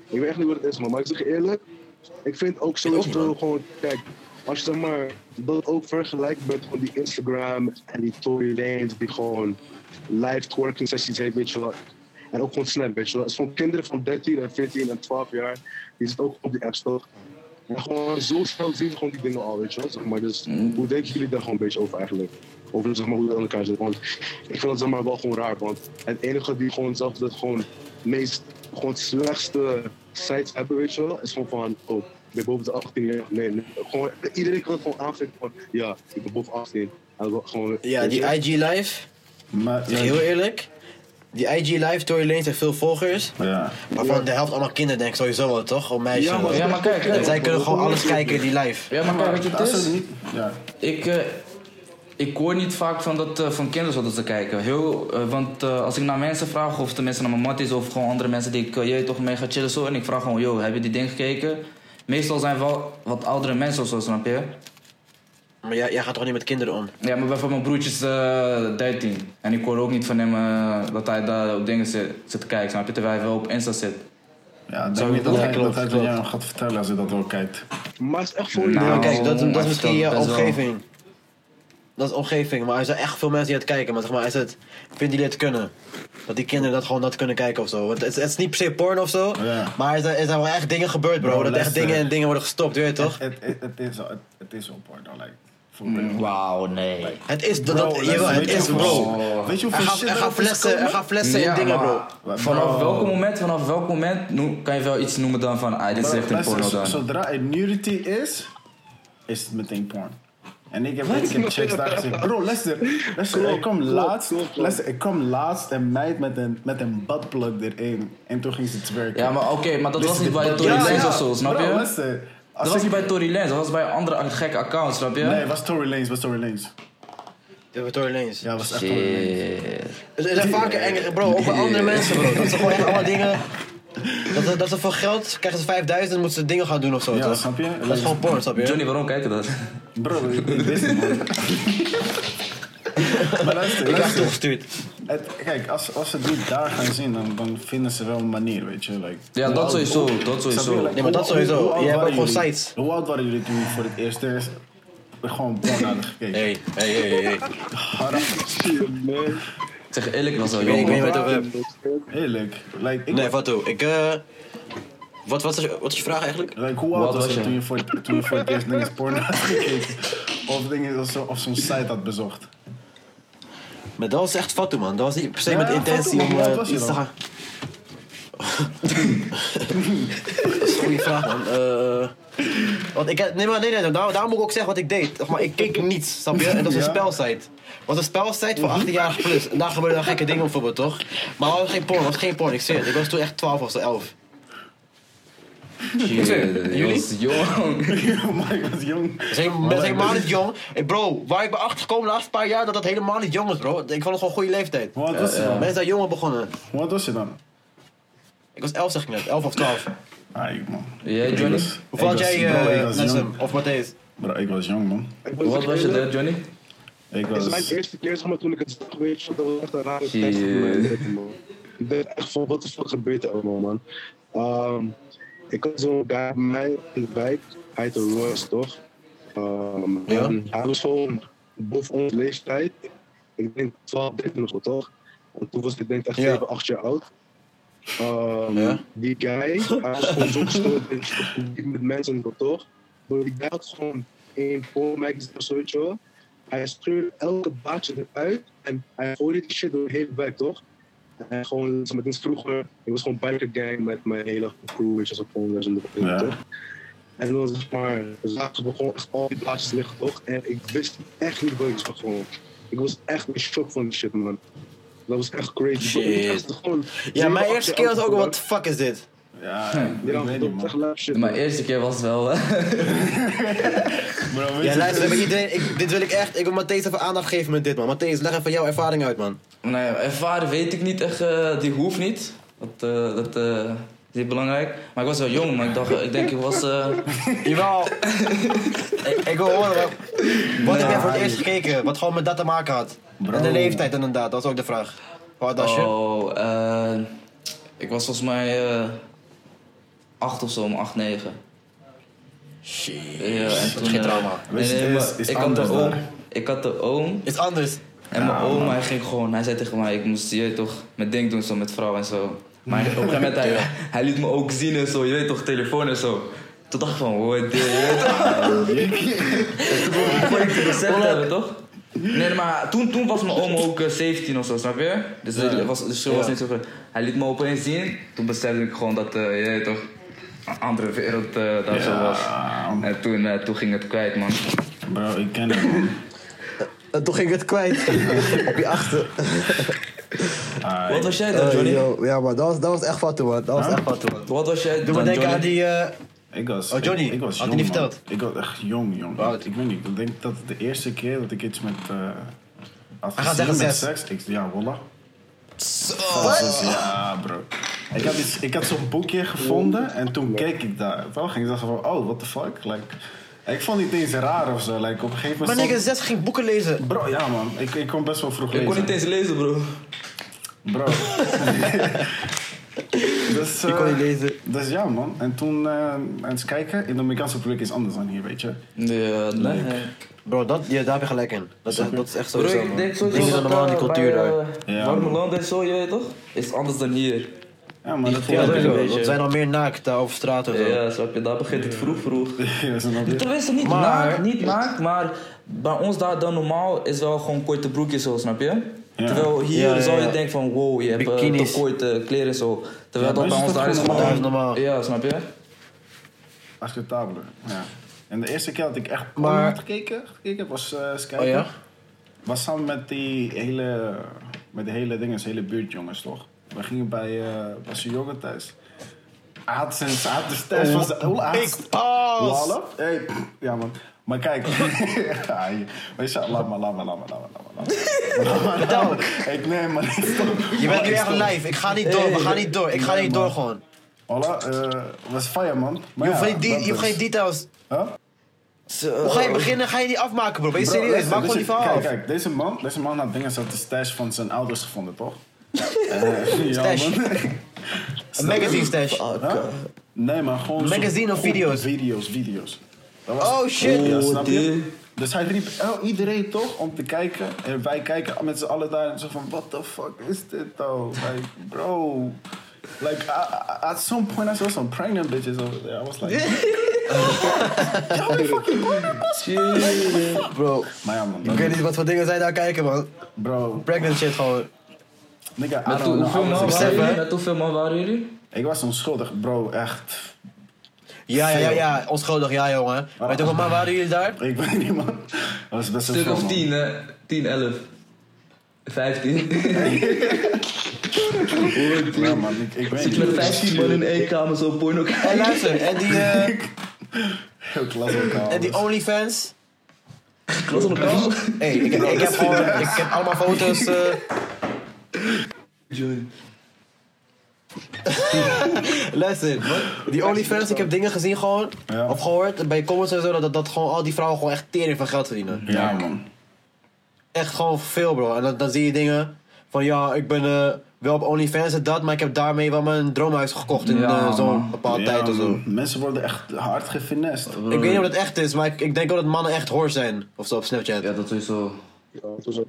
Speaker 4: Ik weet echt niet wat het is, man. Maar ik zeg je eerlijk, ik vind ook sowieso gewoon, kijk, als je zeg maar, dat ook vergelijkt met gewoon die Instagram en die Tory Lanes die gewoon live twerking sessies heeft, weet je wel. En ook gewoon Snap, weet je wel. Het is gewoon kinderen van 13 en 14 en 12 jaar, die zitten ook op die apps, toch? En gewoon zo snel zien ze gewoon die dingen al, weet je wel. Zeg maar. Dus hoe denken jullie daar gewoon een beetje over eigenlijk? Over zeg maar, hoe dat aan elkaar zit. Want ik vind dat zeg maar, wel gewoon raar. Want het enige die gewoon zelf dat gewoon meest gewoon slechtste sites hebben, weet je wel, is gewoon van oh, ik ben boven de 18 jaar. Nee, nee. Gewoon, iedereen kan het gewoon aanvinken van ja, ik ben boven 18. En dan gewoon,
Speaker 1: Ja,
Speaker 4: weet
Speaker 1: die
Speaker 4: je?
Speaker 1: IG Live,
Speaker 2: Maar,
Speaker 1: zeg heel eerlijk. Die IG Live, Tory Lanez heeft veel volgers.
Speaker 2: ja.
Speaker 1: Waarvan de helft allemaal kinderen denk ik sowieso wel, toch? Of meisjes.
Speaker 4: Ja, maar-
Speaker 3: Ja, maar kijk,
Speaker 1: En
Speaker 3: kijk.
Speaker 1: zij kunnen gewoon alles kijken die live.
Speaker 3: Ja, maar kijk, weet je, het
Speaker 2: Als
Speaker 3: is-
Speaker 2: ze niet... Ja.
Speaker 3: Ik, eh, ik hoor niet vaak van, dat, eh, van kinderen zo dat ze kijken. Heel, eh, want eh, als ik naar mensen vraag, of tenminste naar mijn matties of gewoon andere mensen die ik eh, je toch mee ga chillen zo. En ik vraag gewoon, yo, heb je die ding gekeken? Meestal zijn wel wat oudere mensen of zo, snap je?
Speaker 1: Maar jij, jij gaat toch niet met kinderen om?
Speaker 3: Ja, maar bijvoorbeeld mijn broertje is eh, 13. En ik hoor ook niet van hem eh, dat hij daar op dingen zit, zit te kijken, snap je? Terwijl hij wel op Insta zit.
Speaker 2: Ja, ik
Speaker 3: Zo,
Speaker 2: denk niet dat
Speaker 3: ja,
Speaker 2: hij
Speaker 3: klopt,
Speaker 2: dat hij
Speaker 3: klopt.
Speaker 2: jou nog gaat vertellen als hij dat wel kijkt.
Speaker 4: Maar het is echt voor
Speaker 3: Nou,
Speaker 1: maar kijk, dat, dat
Speaker 3: maar
Speaker 1: is misschien
Speaker 3: dat
Speaker 1: je
Speaker 3: is best wel-
Speaker 1: omgeving. Dat is omgeving, maar er zijn echt veel mensen die het kijken. Maar zeg maar, is het, vinden jullie het kunnen? Dat die kinderen dat gewoon dat kunnen kijken of zo. Want het, is- het is niet per se porn of zo.
Speaker 2: Ja.
Speaker 1: Maar er zijn, er zijn wel echt dingen gebeurd, bro.
Speaker 2: Bro,
Speaker 1: dat echt
Speaker 2: luister.
Speaker 1: dingen en dingen worden gestopt, weet je toch?
Speaker 2: Het, het, het is al, het, het is al porno, like. Voor
Speaker 3: Mm.
Speaker 2: mij.
Speaker 3: Wauw, nee.
Speaker 1: Het is, dat,
Speaker 2: Bro,
Speaker 1: dat,
Speaker 2: luister,
Speaker 1: jawel, het
Speaker 2: weet je
Speaker 1: is,
Speaker 2: hoeveel-
Speaker 1: bro.
Speaker 2: Weet je
Speaker 1: Er
Speaker 2: hoeveel
Speaker 1: gaan,
Speaker 2: shit
Speaker 1: er gaan
Speaker 2: erop is
Speaker 1: flessen, er
Speaker 2: gekomen?
Speaker 1: gaan flessen en dingen,
Speaker 3: maar
Speaker 1: bro.
Speaker 2: Bro.
Speaker 3: Vanaf welk moment, vanaf welk moment noem- kan je wel iets noemen dan van, ah, dit is
Speaker 2: Bro,
Speaker 3: echt een
Speaker 2: luister,
Speaker 3: porno
Speaker 2: zo-
Speaker 3: dan?
Speaker 2: Zodra er nudity is, is het meteen porn. En ik heb dit keer chicks daar gezien. Bro, luister. luister ik kwam
Speaker 4: klopt,
Speaker 2: laatst.
Speaker 4: klopt, klopt.
Speaker 2: Luister, ik kwam laatst een meid met een, met een buttplug erin. En toen ging ze twerken.
Speaker 3: Ja, maar oké, maar dat was
Speaker 2: Luister,
Speaker 3: niet
Speaker 2: dit-
Speaker 3: bij Tory
Speaker 2: Ja,
Speaker 3: Lanez
Speaker 2: ja.
Speaker 3: of zo, snap
Speaker 2: Bro,
Speaker 3: je?
Speaker 2: luister. Als
Speaker 3: Dat was
Speaker 2: ik-
Speaker 3: niet bij Tory Lanez, dat was bij een andere ac- gekke account, snap je?
Speaker 2: Nee, het was Tory Lanez, was Tory Lanez.
Speaker 1: Ja, we Tory Lanez.
Speaker 2: Ja, het was echt Tory Lanez.
Speaker 3: Shit.
Speaker 1: Er zijn vaker enge, bro, ook bij andere mensen, bro. Dat ze gewoon echt allemaal dingen. Dat ze, dat ze voor geld krijgen ze 5000 en moeten ze dingen gaan doen of zo.
Speaker 2: Ja,
Speaker 1: toch?
Speaker 2: snap je?
Speaker 1: Dat is gewoon porn, snap je?
Speaker 3: Johnny, waarom kijk je dat?
Speaker 2: Bro, ik ik wist het man. maar luister,
Speaker 1: ik heb
Speaker 2: luister.
Speaker 1: toegestuurd.
Speaker 2: Het- kijk, als, als ze dit daar gaan zien, dan, dan vinden ze wel een manier, weet je. Like,
Speaker 3: Ja, dat sowieso, dat
Speaker 2: Snap je?
Speaker 3: sowieso.
Speaker 2: Like,
Speaker 1: Nee, maar dat
Speaker 2: hoe- hoe-
Speaker 1: sowieso.
Speaker 2: hoe oud
Speaker 1: Jij hebt
Speaker 2: waren
Speaker 1: gewoon
Speaker 2: jullie?
Speaker 1: sites.
Speaker 2: Hoe oud waren jullie toen jullie voor het eerst eerst gewoon porno hadden gekeken?
Speaker 1: Hey, hey, hey, hey. hey.
Speaker 2: Haram.
Speaker 4: Shit, man.
Speaker 3: Ik zeg eerlijk, ik was wel
Speaker 1: weet niet,
Speaker 3: jong.
Speaker 1: ik weet
Speaker 3: man.
Speaker 1: niet wat het over
Speaker 2: Eerlijk. Like, ik,
Speaker 1: Nee, Fatou, ik. eh wat, wat, is, wat is je vraag eigenlijk?
Speaker 2: like, hoe
Speaker 3: Hoe
Speaker 2: oud
Speaker 3: oud
Speaker 2: was
Speaker 3: was
Speaker 2: je
Speaker 3: je?
Speaker 2: toen je voor, het- toen je voor het eerst dingen porno had gekeken? Of, dingen, of, zo, of zo'n site had bezocht?
Speaker 1: Maar dat was echt Fatou, man. Dat was niet per se
Speaker 2: Ja,
Speaker 1: met
Speaker 2: Fatou,
Speaker 1: intentie
Speaker 2: man,
Speaker 1: om
Speaker 2: hoe oud
Speaker 1: eh,
Speaker 2: was je
Speaker 1: iets te
Speaker 2: dan?
Speaker 1: gaan. dat is een goede vraag, man. Eh, want ik, heb- nee, maar nee, nee, daar, daarom moet ik ook zeggen wat ik deed. Zeg maar, ik keek niets, snap je? En dat was een
Speaker 2: Ja. Mhm.
Speaker 1: spelsite. Het was een spelsite voor 18 jaar plus. En daar gebeurden dan gekke dingen bijvoorbeeld, toch? Maar het was geen porn, het was geen porn, ik zweer het. Ik was toen echt 12 of zo, 11.
Speaker 3: Jullie? Jongens, jong.
Speaker 2: maar ik was Oh jong.
Speaker 1: Dat is helemaal- dat is helemaal niet jong. Hey, Bro, waar ik ben achtergekomen de laatste paar jaar, dat dat helemaal niet jong is, bro. Ik vond het gewoon een goede leeftijd.
Speaker 2: Wat was je dan?
Speaker 1: Mensen zijn jonger begonnen.
Speaker 2: Wat was je dan?
Speaker 1: Ik was 11, zeg ik net. 11 of 12.
Speaker 2: Ah, ik, man.
Speaker 3: Jij,
Speaker 2: Ik
Speaker 3: Johnny?
Speaker 2: was-
Speaker 1: Hoe vond
Speaker 2: ik was-
Speaker 1: jij
Speaker 2: bro, ik
Speaker 1: eh,
Speaker 2: was
Speaker 1: Nessim
Speaker 2: jong.
Speaker 1: of Matthäus?
Speaker 2: Bro, ik was jong, man.
Speaker 3: Wat was je
Speaker 4: Eerlijk,
Speaker 3: dat, Johnny?
Speaker 2: Ik
Speaker 4: Het
Speaker 2: was...
Speaker 4: is mijn eerste keer, zeg maar, toen ik het zag, weet je, dat was echt een rare
Speaker 3: Shit.
Speaker 4: tijd voor mijn leven, man. Ik dacht echt van, wat de fuck gebeurt er allemaal, man? Ehm, ik had zo'n guy bij mij in de wijk, hij heette Royce, toch? Ehm,
Speaker 1: Ja.
Speaker 4: en Hij was gewoon boven onze leeftijd. Ik denk 12, 13 of zo, toch? En toen was ik denk echt
Speaker 1: Ja.
Speaker 4: 7, 8 jaar oud. Ehm,
Speaker 1: Ja.
Speaker 4: Die guy, hij was gewoon zo gestoord in in met mensen in het kantoor. Door die guy had gewoon één pornmagazine of zoiets, joh. Hij streurde elke baadje eruit en hij gooide die shit door de hele wijk, toch? En gewoon, met eens vroeger, ik was gewoon biker gang met mijn hele crew, weet je, zo gewoon, dus, en dat-
Speaker 2: Ja.
Speaker 4: toch? En dan zeg maar, zaten we gewoon echt al die plaatjes liggen, toch? En ik wist echt niet wat ik zag, gewoon. Ik was echt in shock van die shit, man. Dat was echt crazy.
Speaker 1: Shit.
Speaker 4: Ik was echt gewoon
Speaker 1: Ja, mijn
Speaker 4: zeven,
Speaker 1: eerste
Speaker 4: acht
Speaker 1: keer
Speaker 4: jaar
Speaker 1: was ook
Speaker 4: oud,
Speaker 1: wat the fuck is dit?
Speaker 2: Ja,
Speaker 4: man. Ja,
Speaker 2: ik weet
Speaker 4: dat
Speaker 2: niet,
Speaker 4: was
Speaker 2: man.
Speaker 4: echt live shit.
Speaker 3: Mijn
Speaker 4: man.
Speaker 3: eerste keer was wel... eh,
Speaker 2: Bro, weet
Speaker 1: Ja,
Speaker 2: je-
Speaker 1: luister, bij iedereen, ik, dit wil ik echt. Ik wil Matthäus even aandacht geven met dit, man. Matthäus, leg even jouw ervaring uit, man.
Speaker 3: Nou ja, ervaren weet ik niet echt, eh, die hoeft niet. Dat, eh, dat eh, is niet belangrijk. Maar ik was wel jong, maar ik dacht, eh, ik denk ik was... eh,
Speaker 1: Jawel. ik, ik wil horen wat, wat heb jij voor het eerst gekeken? Wat gewoon met dat te maken had?
Speaker 2: Bro.
Speaker 1: En de leeftijd inderdaad, dat was ook de vraag. Wat was je?
Speaker 3: oh, eh, ik was volgens mij eh acht of zo, om acht, negen.
Speaker 1: Shit.
Speaker 3: Ja, en toen,
Speaker 1: geen
Speaker 3: eh,
Speaker 1: trauma.
Speaker 2: Weet je, het is-
Speaker 3: maar
Speaker 2: is
Speaker 3: ik, had de
Speaker 2: anders
Speaker 3: oom,
Speaker 2: daar.
Speaker 3: ik had de oom
Speaker 1: Is anders.
Speaker 3: en mijn
Speaker 1: Nou,
Speaker 3: oom, hij ging gewoon, hij zei tegen mij, ik moest je weet toch mijn ding doen zo met vrouw en zo. Maar op een gegeven moment, hij, hij liet me ook zien en zo, je weet toch, telefoon en zo. Toen dacht ik van, hoor dit, je weet toch. Toen ik het beseft hebben, toch? Nee, maar toen, toen was mijn oom ook eh, 17 of zo, snap je? Dus het was, dus het was niet zo groot. Hij liet me opeens zien, toen besefte ik gewoon dat, eh, je weet toch, een andere wereld eh, daar zo was.
Speaker 2: Ja,
Speaker 3: En toen, eh, toen ging het kwijt, man.
Speaker 2: bro, ik ken het, man.
Speaker 1: En toen ging ik het kwijt. Op je achter. Ah,
Speaker 3: Wat was jij dan, Johnny?
Speaker 1: ja, maar dat was, dat was echt wat toen, man. Dat was echt wat toen, man.
Speaker 3: Wat was jij
Speaker 1: Eh, Doe
Speaker 3: dan,
Speaker 1: maar denken aan
Speaker 3: Johnny?
Speaker 1: die... eh,
Speaker 2: Ik was,
Speaker 1: Oh, Johnny,
Speaker 2: ik, ik was
Speaker 1: had
Speaker 2: jong,
Speaker 1: hij niet
Speaker 2: man.
Speaker 1: verteld?
Speaker 2: Ik was echt jong, jong.
Speaker 1: Hoe oud?
Speaker 2: Ik weet niet, ik denk dat het de eerste keer dat ik iets met... eh had
Speaker 1: gaat
Speaker 2: gezien
Speaker 1: zeggen
Speaker 2: met
Speaker 1: zes.
Speaker 2: seks. Ik, ja, voilà.
Speaker 1: Wat?
Speaker 2: Dus ja, bro. Ik had, iets- ik had zo'n boekje gevonden en toen keek ik daar. Wel ging ik dacht van, oh, what the fuck? Like, ik vond het niet eens raar of zo. Like, op een gegeven
Speaker 1: Maar
Speaker 2: moment...
Speaker 1: nigga,
Speaker 2: stond-
Speaker 1: zes ging boeken lezen.
Speaker 2: Bro, ja man, ik, ik kon best wel vroeg
Speaker 3: Ik kon
Speaker 2: lezen.
Speaker 3: niet eens lezen, bro.
Speaker 2: Bro. dus, eh,
Speaker 1: kon niet lezen.
Speaker 2: Dus ja man, en toen eh eens kijken. In de Amerikaanse publiek is anders dan hier, weet je.
Speaker 3: Ja, nee.
Speaker 1: Bro, dat, ja, daar heb je gelijk in. Dat, is- dat is echt
Speaker 3: Bro,
Speaker 1: sowieso,
Speaker 3: ik
Speaker 1: man.
Speaker 3: denk
Speaker 1: Dingen
Speaker 3: sowieso
Speaker 1: zijn
Speaker 3: dat
Speaker 1: normaal, die
Speaker 3: eh, bij
Speaker 1: cultuur daar.
Speaker 3: eh,
Speaker 2: Ja,
Speaker 3: warme
Speaker 2: man.
Speaker 3: landen en zo, je weet toch? Is anders dan hier.
Speaker 2: Ja man, dat
Speaker 3: Ja,
Speaker 1: Ja,
Speaker 2: ik
Speaker 3: sowieso.
Speaker 2: wel.
Speaker 1: sowieso. Want zijn al meer naakt daar over straat en zo.
Speaker 3: Ja, snap je? Daar begint het vroeg, vroeg.
Speaker 2: Ja, zo nog weer.
Speaker 3: Tenminste, niet
Speaker 1: Maar-
Speaker 3: naakt, niet naakt, maar bij ons daar dan normaal is wel gewoon korte broekjes zo, snap je?
Speaker 2: Ja.
Speaker 3: Terwijl hier
Speaker 1: Ja, ja,
Speaker 3: zou je
Speaker 1: ja.
Speaker 3: denken van wow, je hebt eh,
Speaker 1: Bikinis.
Speaker 3: te korte kleren zo. Terwijl
Speaker 2: Ja,
Speaker 3: dat
Speaker 2: maar
Speaker 3: bij
Speaker 2: is
Speaker 3: ons
Speaker 2: dat
Speaker 3: daar is
Speaker 2: gewoon normaal?
Speaker 1: Dat is
Speaker 3: gewoon...
Speaker 1: normaal.
Speaker 3: Ja, snap je?
Speaker 2: Acceptabeler. Ja. En de eerste keer dat ik echt
Speaker 1: Maar-
Speaker 2: maar... had gekeken, gekeken was eh Skype.
Speaker 1: Oh ja?
Speaker 2: Was samen met die hele, met de hele dingen, hele buurtjongens toch? We gingen bij, eh was een jongen thuis. Hij had zijn, hij had
Speaker 1: Oh,
Speaker 2: de stats van zijn, hij had
Speaker 1: Big balls!
Speaker 2: Lala? Hey, ja man. Maar kijk, ja, je- weet je, laat maar, laat maar, laat maar, laat maar, laat maar, laat maar. Laat maar. Ik neem maar niet stop.
Speaker 1: Je bent nu echt
Speaker 2: lijf.
Speaker 1: live. Ik ga niet door. We gaan niet door. Ik ga
Speaker 2: Nee,
Speaker 1: niet door
Speaker 2: man.
Speaker 1: gewoon.
Speaker 2: Hola, eh, was fire man. Maar
Speaker 1: Je hoeft
Speaker 2: ja,
Speaker 1: geen,
Speaker 2: dat
Speaker 1: de- je hoeft
Speaker 2: dus.
Speaker 1: geen details.
Speaker 2: Huh?
Speaker 1: Hoe ga je beginnen? Ga je niet afmaken, bro? Ben je
Speaker 2: Bro,
Speaker 1: serieus?
Speaker 2: luister,
Speaker 1: Maak gewoon die
Speaker 2: deze-
Speaker 1: verhaal
Speaker 2: Kijk,
Speaker 1: af.
Speaker 2: kijk, deze man, deze man had dingen uit de stash van zijn ouders gevonden, toch? Eh, ja,
Speaker 1: Stash.
Speaker 2: man.
Speaker 1: Een magazine stash.
Speaker 2: Huh? Nee, maar gewoon... zo'n-
Speaker 1: Magazine of
Speaker 2: gewoon
Speaker 1: video's?
Speaker 2: Video's, video's. Dat was-
Speaker 1: Oh shit.
Speaker 2: Ja, snap je?
Speaker 3: dude.
Speaker 2: Dus hij riep oh, iedereen toch om te kijken. En wij kijken met z'n allen daar en zo van... What the fuck is dit, though? Like, bro... Like, I- I- at some point I saw some pregnant bitches over there. I was like...
Speaker 1: Bro,
Speaker 2: Maar ja, man.
Speaker 1: ik weet niet wat voor dingen zij daar kijken, man.
Speaker 2: Bro,
Speaker 1: Pregnant shit gewoon.
Speaker 2: nigga, I
Speaker 3: Met
Speaker 2: don't
Speaker 3: hoe-
Speaker 2: know.
Speaker 3: hoeveel
Speaker 2: I was
Speaker 3: man
Speaker 1: besef,
Speaker 3: waren
Speaker 1: hè?
Speaker 3: jullie? Met hoeveel man waren jullie?
Speaker 2: Ik was onschuldig, bro, echt.
Speaker 1: Ja, ja, ja, ja. Onschuldig, ja, jongen. Weet je wel, maar waren jullie daar?
Speaker 2: Ik weet niet, man. Dat was best wel
Speaker 3: Stuk
Speaker 2: veel,
Speaker 3: of
Speaker 2: man.
Speaker 3: tien, hè? Tien, elf. Vijftien.
Speaker 2: Ja, man, ik, ik weet
Speaker 3: Met
Speaker 2: niet.
Speaker 3: 15 man in één kamer zo porno
Speaker 1: En
Speaker 3: kijken.
Speaker 1: luister, en die, eh,
Speaker 2: Heel klas elkaar.
Speaker 1: en die OnlyFans.
Speaker 3: Klopt op elkaar.
Speaker 1: Hey, ik, ik, heb gewoon, ik heb allemaal foto's. eh, Luister, man. die OnlyFans, ik heb dingen gezien gewoon,
Speaker 2: Ja.
Speaker 1: of gehoord bij comments en zo, dat, dat, dat gewoon al die vrouwen gewoon echt tering van geld verdienen.
Speaker 2: Ja, man.
Speaker 1: Echt gewoon veel, bro. En dan, dan zie je dingen van, ja, ik ben eh, wel op OnlyFans en dat, maar ik heb daarmee wel mijn droomhuis gekocht in
Speaker 3: Ja,
Speaker 1: eh, zo'n
Speaker 3: man.
Speaker 1: bepaalde
Speaker 2: Ja,
Speaker 1: tijd of zo.
Speaker 2: man. Mensen worden echt hard gefinest.
Speaker 1: Ik weet niet of dat echt is, maar ik, ik denk wel dat mannen echt hoor zijn, of zo op Snapchat.
Speaker 3: Ja, dat sowieso.
Speaker 4: Ja, toen zo.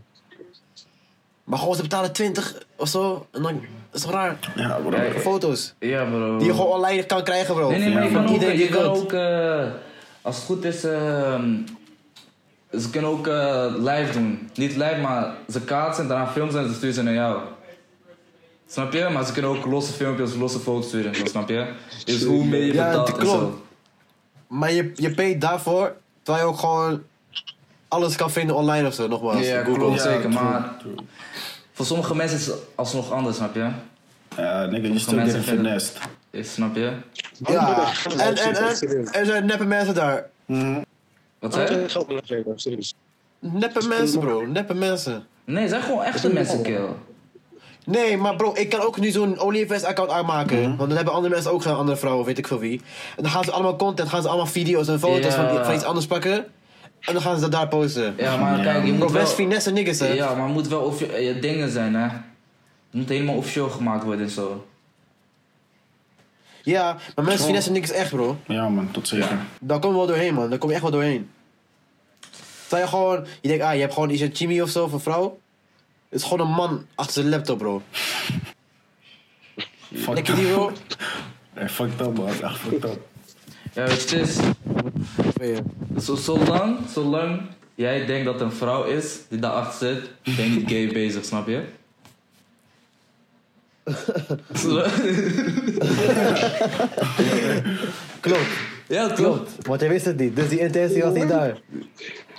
Speaker 1: Maar gewoon, ze betalen 20 of zo, en dan, dat is toch raar,
Speaker 2: Ja, bro.
Speaker 3: Ja,
Speaker 1: foto's.
Speaker 3: Ja, bro.
Speaker 1: Die je gewoon online kan krijgen, bro.
Speaker 3: Oh. Nee, nee, maar je kan
Speaker 1: Van
Speaker 3: ook,
Speaker 1: iedereen
Speaker 3: je
Speaker 1: die
Speaker 3: kan
Speaker 1: wilt.
Speaker 3: ook eh, als het goed is, ehm, ze kunnen ook eh, live doen. Niet live, maar ze kaatsen en daarna filmen ze en ze sturen ze naar jou. Snap je? Maar ze kunnen ook losse filmpjes, losse foto's sturen, zo, snap je? Dus hoe meer je
Speaker 1: Ja,
Speaker 3: betaalt
Speaker 1: dat
Speaker 3: en
Speaker 1: klopt.
Speaker 3: zo.
Speaker 1: Maar je, je pay daarvoor, terwijl je ook gewoon alles kan vinden online of zo, nogmaals.
Speaker 3: Ja,
Speaker 1: Google.
Speaker 3: klopt
Speaker 2: Ja,
Speaker 3: zeker,
Speaker 2: true,
Speaker 3: maar
Speaker 2: true.
Speaker 3: voor sommige mensen is het alsnog anders, snap je?
Speaker 2: Ja, nigga, je still
Speaker 3: mensen
Speaker 2: getting
Speaker 3: vinden-
Speaker 2: finest.
Speaker 3: Ik snap je?
Speaker 1: Ja, en, en, en er zijn neppe mensen daar.
Speaker 3: Wat zei je?
Speaker 4: Geld geld aan geven, serieus.
Speaker 1: Neppe mensen, bro. Neppe mensen.
Speaker 3: Nee, zijn gewoon echte mensen, kill.
Speaker 1: Nee, maar bro, ik kan ook nu zo'n OnlyFans-account aanmaken.
Speaker 3: Mhm.
Speaker 1: Want dan hebben andere mensen ook zo'n andere vrouwen, weet ik veel wie. En dan gaan ze allemaal content, gaan ze allemaal video's en foto's
Speaker 3: Ja.
Speaker 1: van, van iets anders pakken. En dan gaan ze dat daar posten.
Speaker 3: Ja, maar
Speaker 2: Ja.
Speaker 3: kijk, je
Speaker 1: Bro,
Speaker 3: moet
Speaker 1: best
Speaker 3: wel...
Speaker 1: finesse niggas, hè.
Speaker 3: Ja, maar het moet wel offi- eh, je dingen zijn, hè. Het moet helemaal officieel gemaakt worden en zo.
Speaker 1: Ja, maar mensen finesse niggas echt, bro.
Speaker 2: Ja, man, tot zeker.
Speaker 1: Daar kom je wel doorheen, man. Daar kom je echt wel doorheen. Terwijl je gewoon... Je denkt, ah, je hebt gewoon iets een Jimmy of zo, of een vrouw. Het is gewoon een man achter zijn laptop, bro.
Speaker 2: Fuck
Speaker 1: Denk je die,
Speaker 2: up.
Speaker 1: bro?
Speaker 2: Hey, fucked up, man. Echt fucked up.
Speaker 3: Ja, weet je, het is...
Speaker 1: Ja.
Speaker 3: Zo, zolang, zolang jij denkt dat een vrouw is die daarachter zit, ben je niet gay bezig, snap je? Zolang-
Speaker 1: Klopt,
Speaker 3: ja, klopt.
Speaker 1: Want hij wist het niet, dus die intentie was niet daar.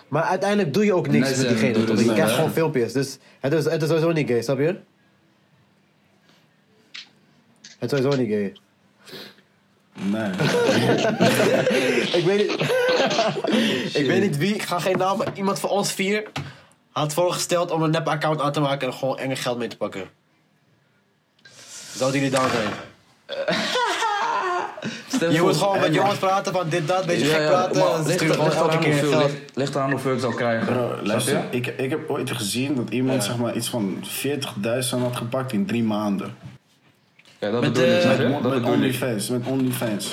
Speaker 1: Maar uiteindelijk doe je ook niks
Speaker 3: Nee,
Speaker 1: met
Speaker 3: ze
Speaker 1: diegene,
Speaker 3: doen
Speaker 1: toch?
Speaker 3: dus
Speaker 1: Je krijgt
Speaker 3: wel,
Speaker 1: gewoon filmpjes, dus het is, het is sowieso niet gay, snap je? Het is sowieso niet gay.
Speaker 2: Nee.
Speaker 1: Ik weet niet. ik weet niet wie, ik ga geen naam, maar iemand van ons vier had voorgesteld om een nep-account aan te maken en gewoon enge geld mee te pakken. Zouden jullie down zijn?
Speaker 3: Stel
Speaker 1: Je
Speaker 3: voor-
Speaker 1: moet gewoon met jongens praten van dit, dat, beetje eh, gek praten.
Speaker 3: maar
Speaker 1: en ze
Speaker 3: ligt,
Speaker 1: sturen
Speaker 3: er-
Speaker 1: gewoon
Speaker 3: ligt
Speaker 1: elke
Speaker 3: eraan
Speaker 1: keer
Speaker 3: hoeveel,
Speaker 1: geld.
Speaker 3: ligt, ligt eraan hoeveel ik zou krijgen.
Speaker 2: Bro,
Speaker 3: Snap
Speaker 2: luister,
Speaker 3: je?
Speaker 2: ik, ik heb ooit gezien dat iemand zeg maar, iets van 40.000 had gepakt in drie maanden.
Speaker 3: Ja, dat
Speaker 1: Met,
Speaker 3: bedoel ik,
Speaker 1: eh,
Speaker 3: snap je? Dat
Speaker 2: met
Speaker 3: bedoel ik.
Speaker 2: OnlyFans, met OnlyFans.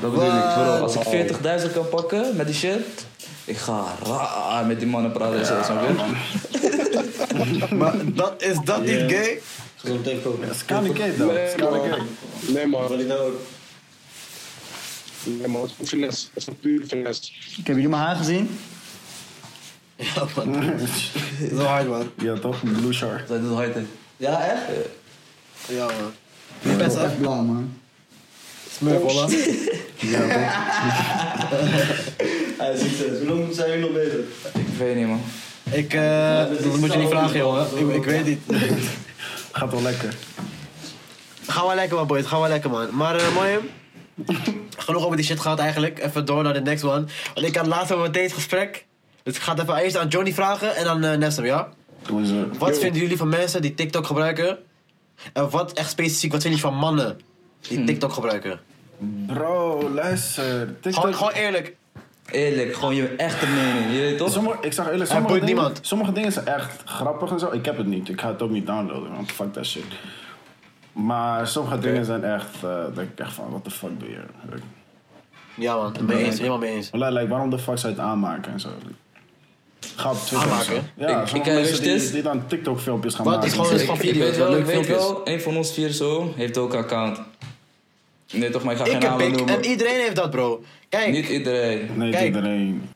Speaker 3: Dat bedoel ik, bro. Als ik 40.000 kan pakken met die shit, ik ga raar met die mannen praten en zo, snap je?
Speaker 1: Maar dat, is dat niet gay?
Speaker 5: Gezond tempo.
Speaker 2: Dat is kind of gay, though. It's
Speaker 4: Nee,
Speaker 2: kind of
Speaker 4: man.
Speaker 2: gay.
Speaker 4: Nee, man.
Speaker 5: Wat ik nou ook.
Speaker 4: Nee, man. Dat is een finesse. Dat is een pure finesse.
Speaker 6: Hebben jullie mijn haar gezien?
Speaker 5: Ja, man.
Speaker 1: Dat is wel hard, man.
Speaker 2: Ja, toch? Blue Shark.
Speaker 3: Dat is hard, hè.
Speaker 5: Ja, echt?
Speaker 1: Ja, man.
Speaker 6: Best
Speaker 1: Tá
Speaker 6: echt blauw, man.
Speaker 1: Smurf, holla.
Speaker 5: Hij is succes. Hoe lang zijn jullie nog bezig?
Speaker 3: Ik weet niet, man.
Speaker 1: Ik, eh, dat moet je niet vragen, jongen. Ik, ik weet niet.
Speaker 2: Gaat wel lekker.
Speaker 1: Ga wel lekker, man, boys. Ga wel lekker, man. Maar, eh mooi. Genoeg over die shit gehad, eigenlijk. Even door naar de next one. Want ik had later meteen het gesprek. Dus ik ga het even eerst aan Johnny vragen en aan eh Nestor, ja?
Speaker 2: Doen ze.
Speaker 1: Wat vinden jullie van mensen die TikTok gebruiken? En wat, echt specifiek, wat vinden jullie van mannen die TikTok gebruiken?
Speaker 2: Bro, luister.
Speaker 1: Gewoon,
Speaker 2: TikTok.
Speaker 1: gewoon eerlijk.
Speaker 3: Eerlijk, gewoon je echte mening, je weet toch?
Speaker 2: Sommige, ik zag eerlijk,
Speaker 1: Hij
Speaker 2: sommige
Speaker 1: boeit
Speaker 2: dingen,
Speaker 1: niemand.
Speaker 2: sommige dingen zijn echt grappig en zo. Ik heb het niet. Ik ga het ook niet downloaden, want fuck that shit. Maar sommige dingen zijn echt, eh denk ik echt van, what the fuck doe je?
Speaker 1: Ja, man. Mee eens. Helemaal mee eens.
Speaker 2: Like, like, waarom de fuck zou je het aanmaken en zo? Ga op Twitter
Speaker 1: Aanmaken?
Speaker 2: en zo. Ja,
Speaker 3: Ik-
Speaker 2: sommige
Speaker 3: ik, eh,
Speaker 2: mensen
Speaker 3: weet je het
Speaker 2: die,
Speaker 3: is?
Speaker 2: die dan TikTok filmpjes gaan
Speaker 1: Wat?
Speaker 2: maken.
Speaker 1: Het is gewoon-
Speaker 2: en
Speaker 1: het
Speaker 2: zo.
Speaker 1: is
Speaker 3: Ik,
Speaker 1: gewoon
Speaker 3: ik
Speaker 1: video's,
Speaker 3: weet wel,
Speaker 1: leuke
Speaker 3: ik weet
Speaker 1: filmpjes.
Speaker 3: wel, een van ons vier zo heeft ook een account. Nee toch, maar ik ga geen
Speaker 1: Ik heb
Speaker 3: namen
Speaker 1: pik
Speaker 3: noemen.
Speaker 1: en iedereen heeft dat, bro. Kijk,
Speaker 3: Niet iedereen.
Speaker 2: Nee,
Speaker 1: Kijk.
Speaker 2: iedereen.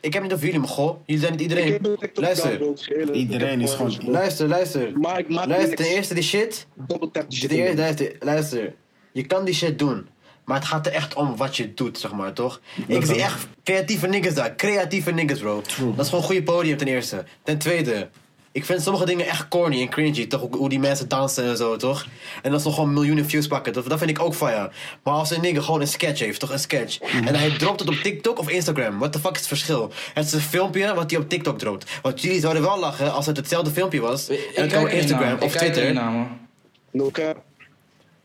Speaker 1: ik heb niet over jullie, maar goh, jullie zijn niet
Speaker 4: Ik heb
Speaker 1: iedereen.
Speaker 4: een TikTok
Speaker 1: Luister,
Speaker 4: download, gele.
Speaker 2: Iedereen
Speaker 4: Ik heb
Speaker 2: is gewoon-
Speaker 4: gewoon-
Speaker 1: luister, luister.
Speaker 4: Maar ik maak
Speaker 1: Luister,
Speaker 4: niks.
Speaker 1: ten eerste die shit.
Speaker 4: Double tap die
Speaker 1: Ten
Speaker 4: shit.
Speaker 1: eerste,
Speaker 4: in.
Speaker 1: luister, luister. Je kan die shit doen. Maar het gaat er echt om wat je doet, zeg maar, toch? Ik zie echt creatieve niggas daar. Creatieve niggas, bro. Dat is gewoon een goede podium, ten eerste. Ten tweede, Ik vind sommige dingen echt corny en cringy. Toch, hoe- hoe die mensen dansen en zo, toch? En dat ze gewoon miljoenen views pakken. Dat, dat vind ik ook fire. Maar als een nigger gewoon een sketch heeft, toch? Een sketch.
Speaker 4: Mhm.
Speaker 1: En hij dropt het op TikTok of Instagram. What the fuck is het verschil? Het is een filmpje wat hij op TikTok dropt. Want jullie zouden wel lachen als het hetzelfde filmpje was.
Speaker 3: Ik
Speaker 1: en het
Speaker 3: kijk
Speaker 1: kan
Speaker 3: er
Speaker 1: op
Speaker 3: niet naar,
Speaker 1: Instagram
Speaker 3: man.
Speaker 1: of
Speaker 3: Ik kijk er
Speaker 1: Twitter.
Speaker 3: niet naar, man.
Speaker 4: No cap.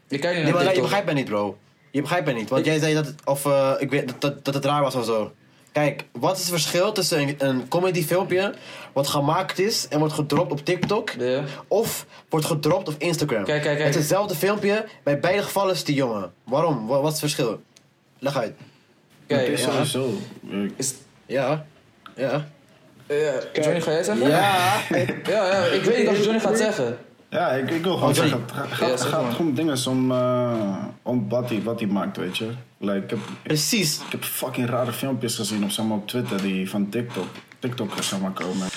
Speaker 3: Ik kijk
Speaker 1: Nee,
Speaker 3: niet naar
Speaker 1: maar je
Speaker 3: TikTok.
Speaker 1: begrijpt mij niet, bro. Je begrijpt mij niet. Want jij zei dat het, of, eh, ik weet, dat- dat, dat het raar was of zo. Kijk, wat is het verschil tussen een, een comedy filmpje wat gemaakt is en wordt gedropt op TikTok?
Speaker 3: Ja.
Speaker 1: Of wordt gedropt op Instagram?
Speaker 3: Kijk, kijk, kijk.
Speaker 1: Het is hetzelfde filmpje, bij beide gevallen is die jongen. Waarom? Wa- Wat is het verschil? Leg uit.
Speaker 2: Het
Speaker 3: Kijk,
Speaker 2: is
Speaker 3: ja.
Speaker 2: sowieso. Ik-
Speaker 3: Is-
Speaker 1: Ja. Ja.
Speaker 3: ja, Johnny, ga jij het zeggen?
Speaker 1: Ja.
Speaker 3: Ja, ja, ik weet niet of Johnny gaat zeggen.
Speaker 2: Ja, ik, ik wil gewoon
Speaker 1: Oh, sorry.
Speaker 2: zeggen, het ga-
Speaker 3: Ja,
Speaker 2: gaat
Speaker 3: zeg
Speaker 2: gaat
Speaker 3: maar.
Speaker 2: gewoon om dingen om, eh, om wat hij wat hij maakt, weet je. Like, ik, heb, ik,
Speaker 1: Precies.
Speaker 2: ik heb fucking rare filmpjes gezien op, zeg maar, op Twitter die van TikTok, TikTokers zeg maar, komen.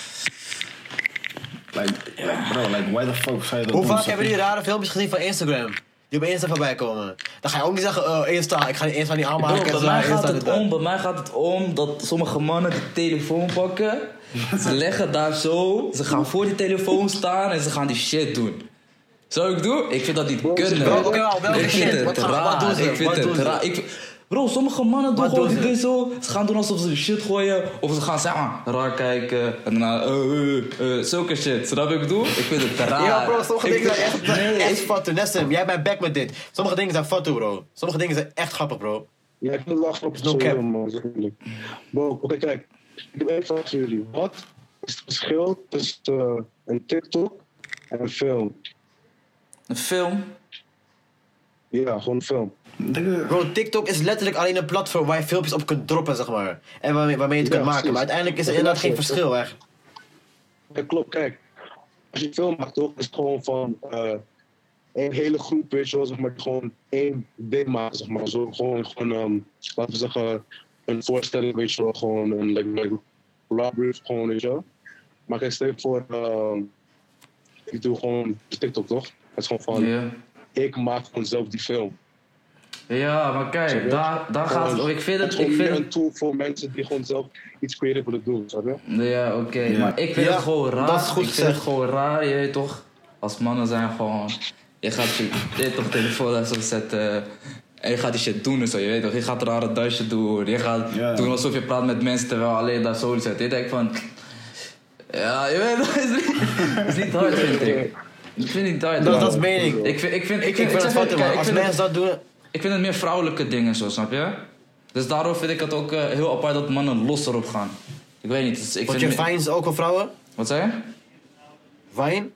Speaker 2: Like, like, bro, like, why the fuck zou je
Speaker 1: Hoe
Speaker 2: dat doen?
Speaker 1: vaak
Speaker 2: snap
Speaker 1: hebben
Speaker 2: je?
Speaker 1: jullie rare filmpjes gezien van Instagram? Die op Insta voorbij komen. Dan ga je ook niet zeggen, eh Insta, ik ga die Insta niet aanmaken.
Speaker 3: Bro,
Speaker 1: en
Speaker 3: bij
Speaker 1: zo,
Speaker 3: mij
Speaker 1: Insta
Speaker 3: gaat
Speaker 1: dit,
Speaker 3: het
Speaker 1: dat.
Speaker 3: om, bij mij gaat het om dat sommige mannen de telefoon pakken. Ze leggen daar zo, ze gaan voor die telefoon staan en ze gaan die shit doen. Zou ik doen? Ik vind dat niet kunnen.
Speaker 1: bro, oké, wel, welke
Speaker 3: ik vind
Speaker 1: shit?
Speaker 3: het
Speaker 1: Wat gaan- wat
Speaker 3: raar.
Speaker 1: doen ze?
Speaker 3: Ik vind
Speaker 1: Wat doen
Speaker 3: het
Speaker 1: ze?
Speaker 3: raar. Ik vind- Bro, sommige mannen doen
Speaker 1: Wat
Speaker 3: gewoon
Speaker 1: doen
Speaker 3: die
Speaker 1: ze?
Speaker 3: dingen zo. Ze gaan doen alsof ze de shit gooien. Of ze gaan zeggen, ah, raar kijken. En daarna, eh, eh, eh, zulke shit. Snap je wat ik bedoel? Ik vind het raar.
Speaker 1: Ja, bro, sommige
Speaker 3: Ik
Speaker 1: dingen zijn
Speaker 3: vind-
Speaker 1: echt, echt fatu. Nessim, jij bent back met dit. Sommige dingen zijn fatu, bro. Sommige dingen zijn echt grappig, bro.
Speaker 4: Ja, ik wil lachen op het
Speaker 1: No
Speaker 4: sowieso,
Speaker 1: cap.
Speaker 4: man. Zeg eerlijk. Bro, oké, kijk. Ik heb even vraag voor jullie. Wat is het verschil tussen eh, een TikTok en een film?
Speaker 3: Een film.
Speaker 4: Ja, gewoon een film.
Speaker 2: Dingen-
Speaker 1: Bro, TikTok is letterlijk alleen een platform waar je filmpjes op kunt droppen, zeg maar. En waarmee, waarmee je het
Speaker 4: Ja,
Speaker 1: kunt maken.
Speaker 4: precies.
Speaker 1: Maar uiteindelijk is er
Speaker 4: Dat
Speaker 1: inderdaad geen
Speaker 4: klopt, dat
Speaker 1: verschil, echt.
Speaker 4: Ja, klopt, kijk. Als je een film maakt, toch, is het gewoon van eh één hele groep, weet je wel, zeg maar, die gewoon één ding maken, zeg maar. Zo, gewoon, gewoon ehm, laten we zeggen, een voorstelling, weet je wel, gewoon een like, like, robbery, of gewoon, weet je wel. Maar kijk, stel je voor, ehm, ik doe gewoon TikTok, toch? Het is gewoon van,
Speaker 3: Ja.
Speaker 4: ik maak gewoon zelf die film.
Speaker 3: Ja, maar kijk, daar, daar gaat het om. Ik vind
Speaker 4: Het
Speaker 3: het,
Speaker 4: is
Speaker 3: ik
Speaker 4: gewoon
Speaker 3: vind
Speaker 4: meer
Speaker 3: het
Speaker 4: een tool voor mensen die gewoon zelf iets creëren willen doen, snap je?
Speaker 3: Ja, oké. Maar ik vind
Speaker 1: Ja,
Speaker 3: het gewoon raar.
Speaker 1: dat is goed
Speaker 3: ik vind het
Speaker 1: gezegd.
Speaker 3: gewoon raar, je weet toch? Als mannen zijn gewoon... Je gaat je, je weet toch telefoon daar zo zetten... En je gaat die shit doen en zo, je weet toch? Je gaat rare dansje doen. Je gaat
Speaker 2: Ja.
Speaker 3: doen alsof je praat met mensen terwijl alleen daar zo zit. Je denkt van... Ja, je weet toch? Het is niet, het is niet hard, vind ik. Ik vind het niet hard.
Speaker 1: Dat,
Speaker 3: man.
Speaker 1: dat is mening. Ik,
Speaker 3: Ik vind, ik vind,
Speaker 1: ik, vind het
Speaker 3: zeg je,
Speaker 1: fatu,
Speaker 3: kijk,
Speaker 1: man.
Speaker 3: ik
Speaker 1: Als
Speaker 3: vind het-
Speaker 1: mensen dat doen...
Speaker 3: ik vind het meer vrouwelijke dingen zo, snap je? Dus daarom vind ik het ook eh, heel apart dat mannen los erop gaan. Ik weet niet. dus ik
Speaker 1: Vond
Speaker 3: vind
Speaker 1: je
Speaker 3: me-
Speaker 1: Vines ook wel vrouwen?
Speaker 3: Wat zei je?
Speaker 1: Vine?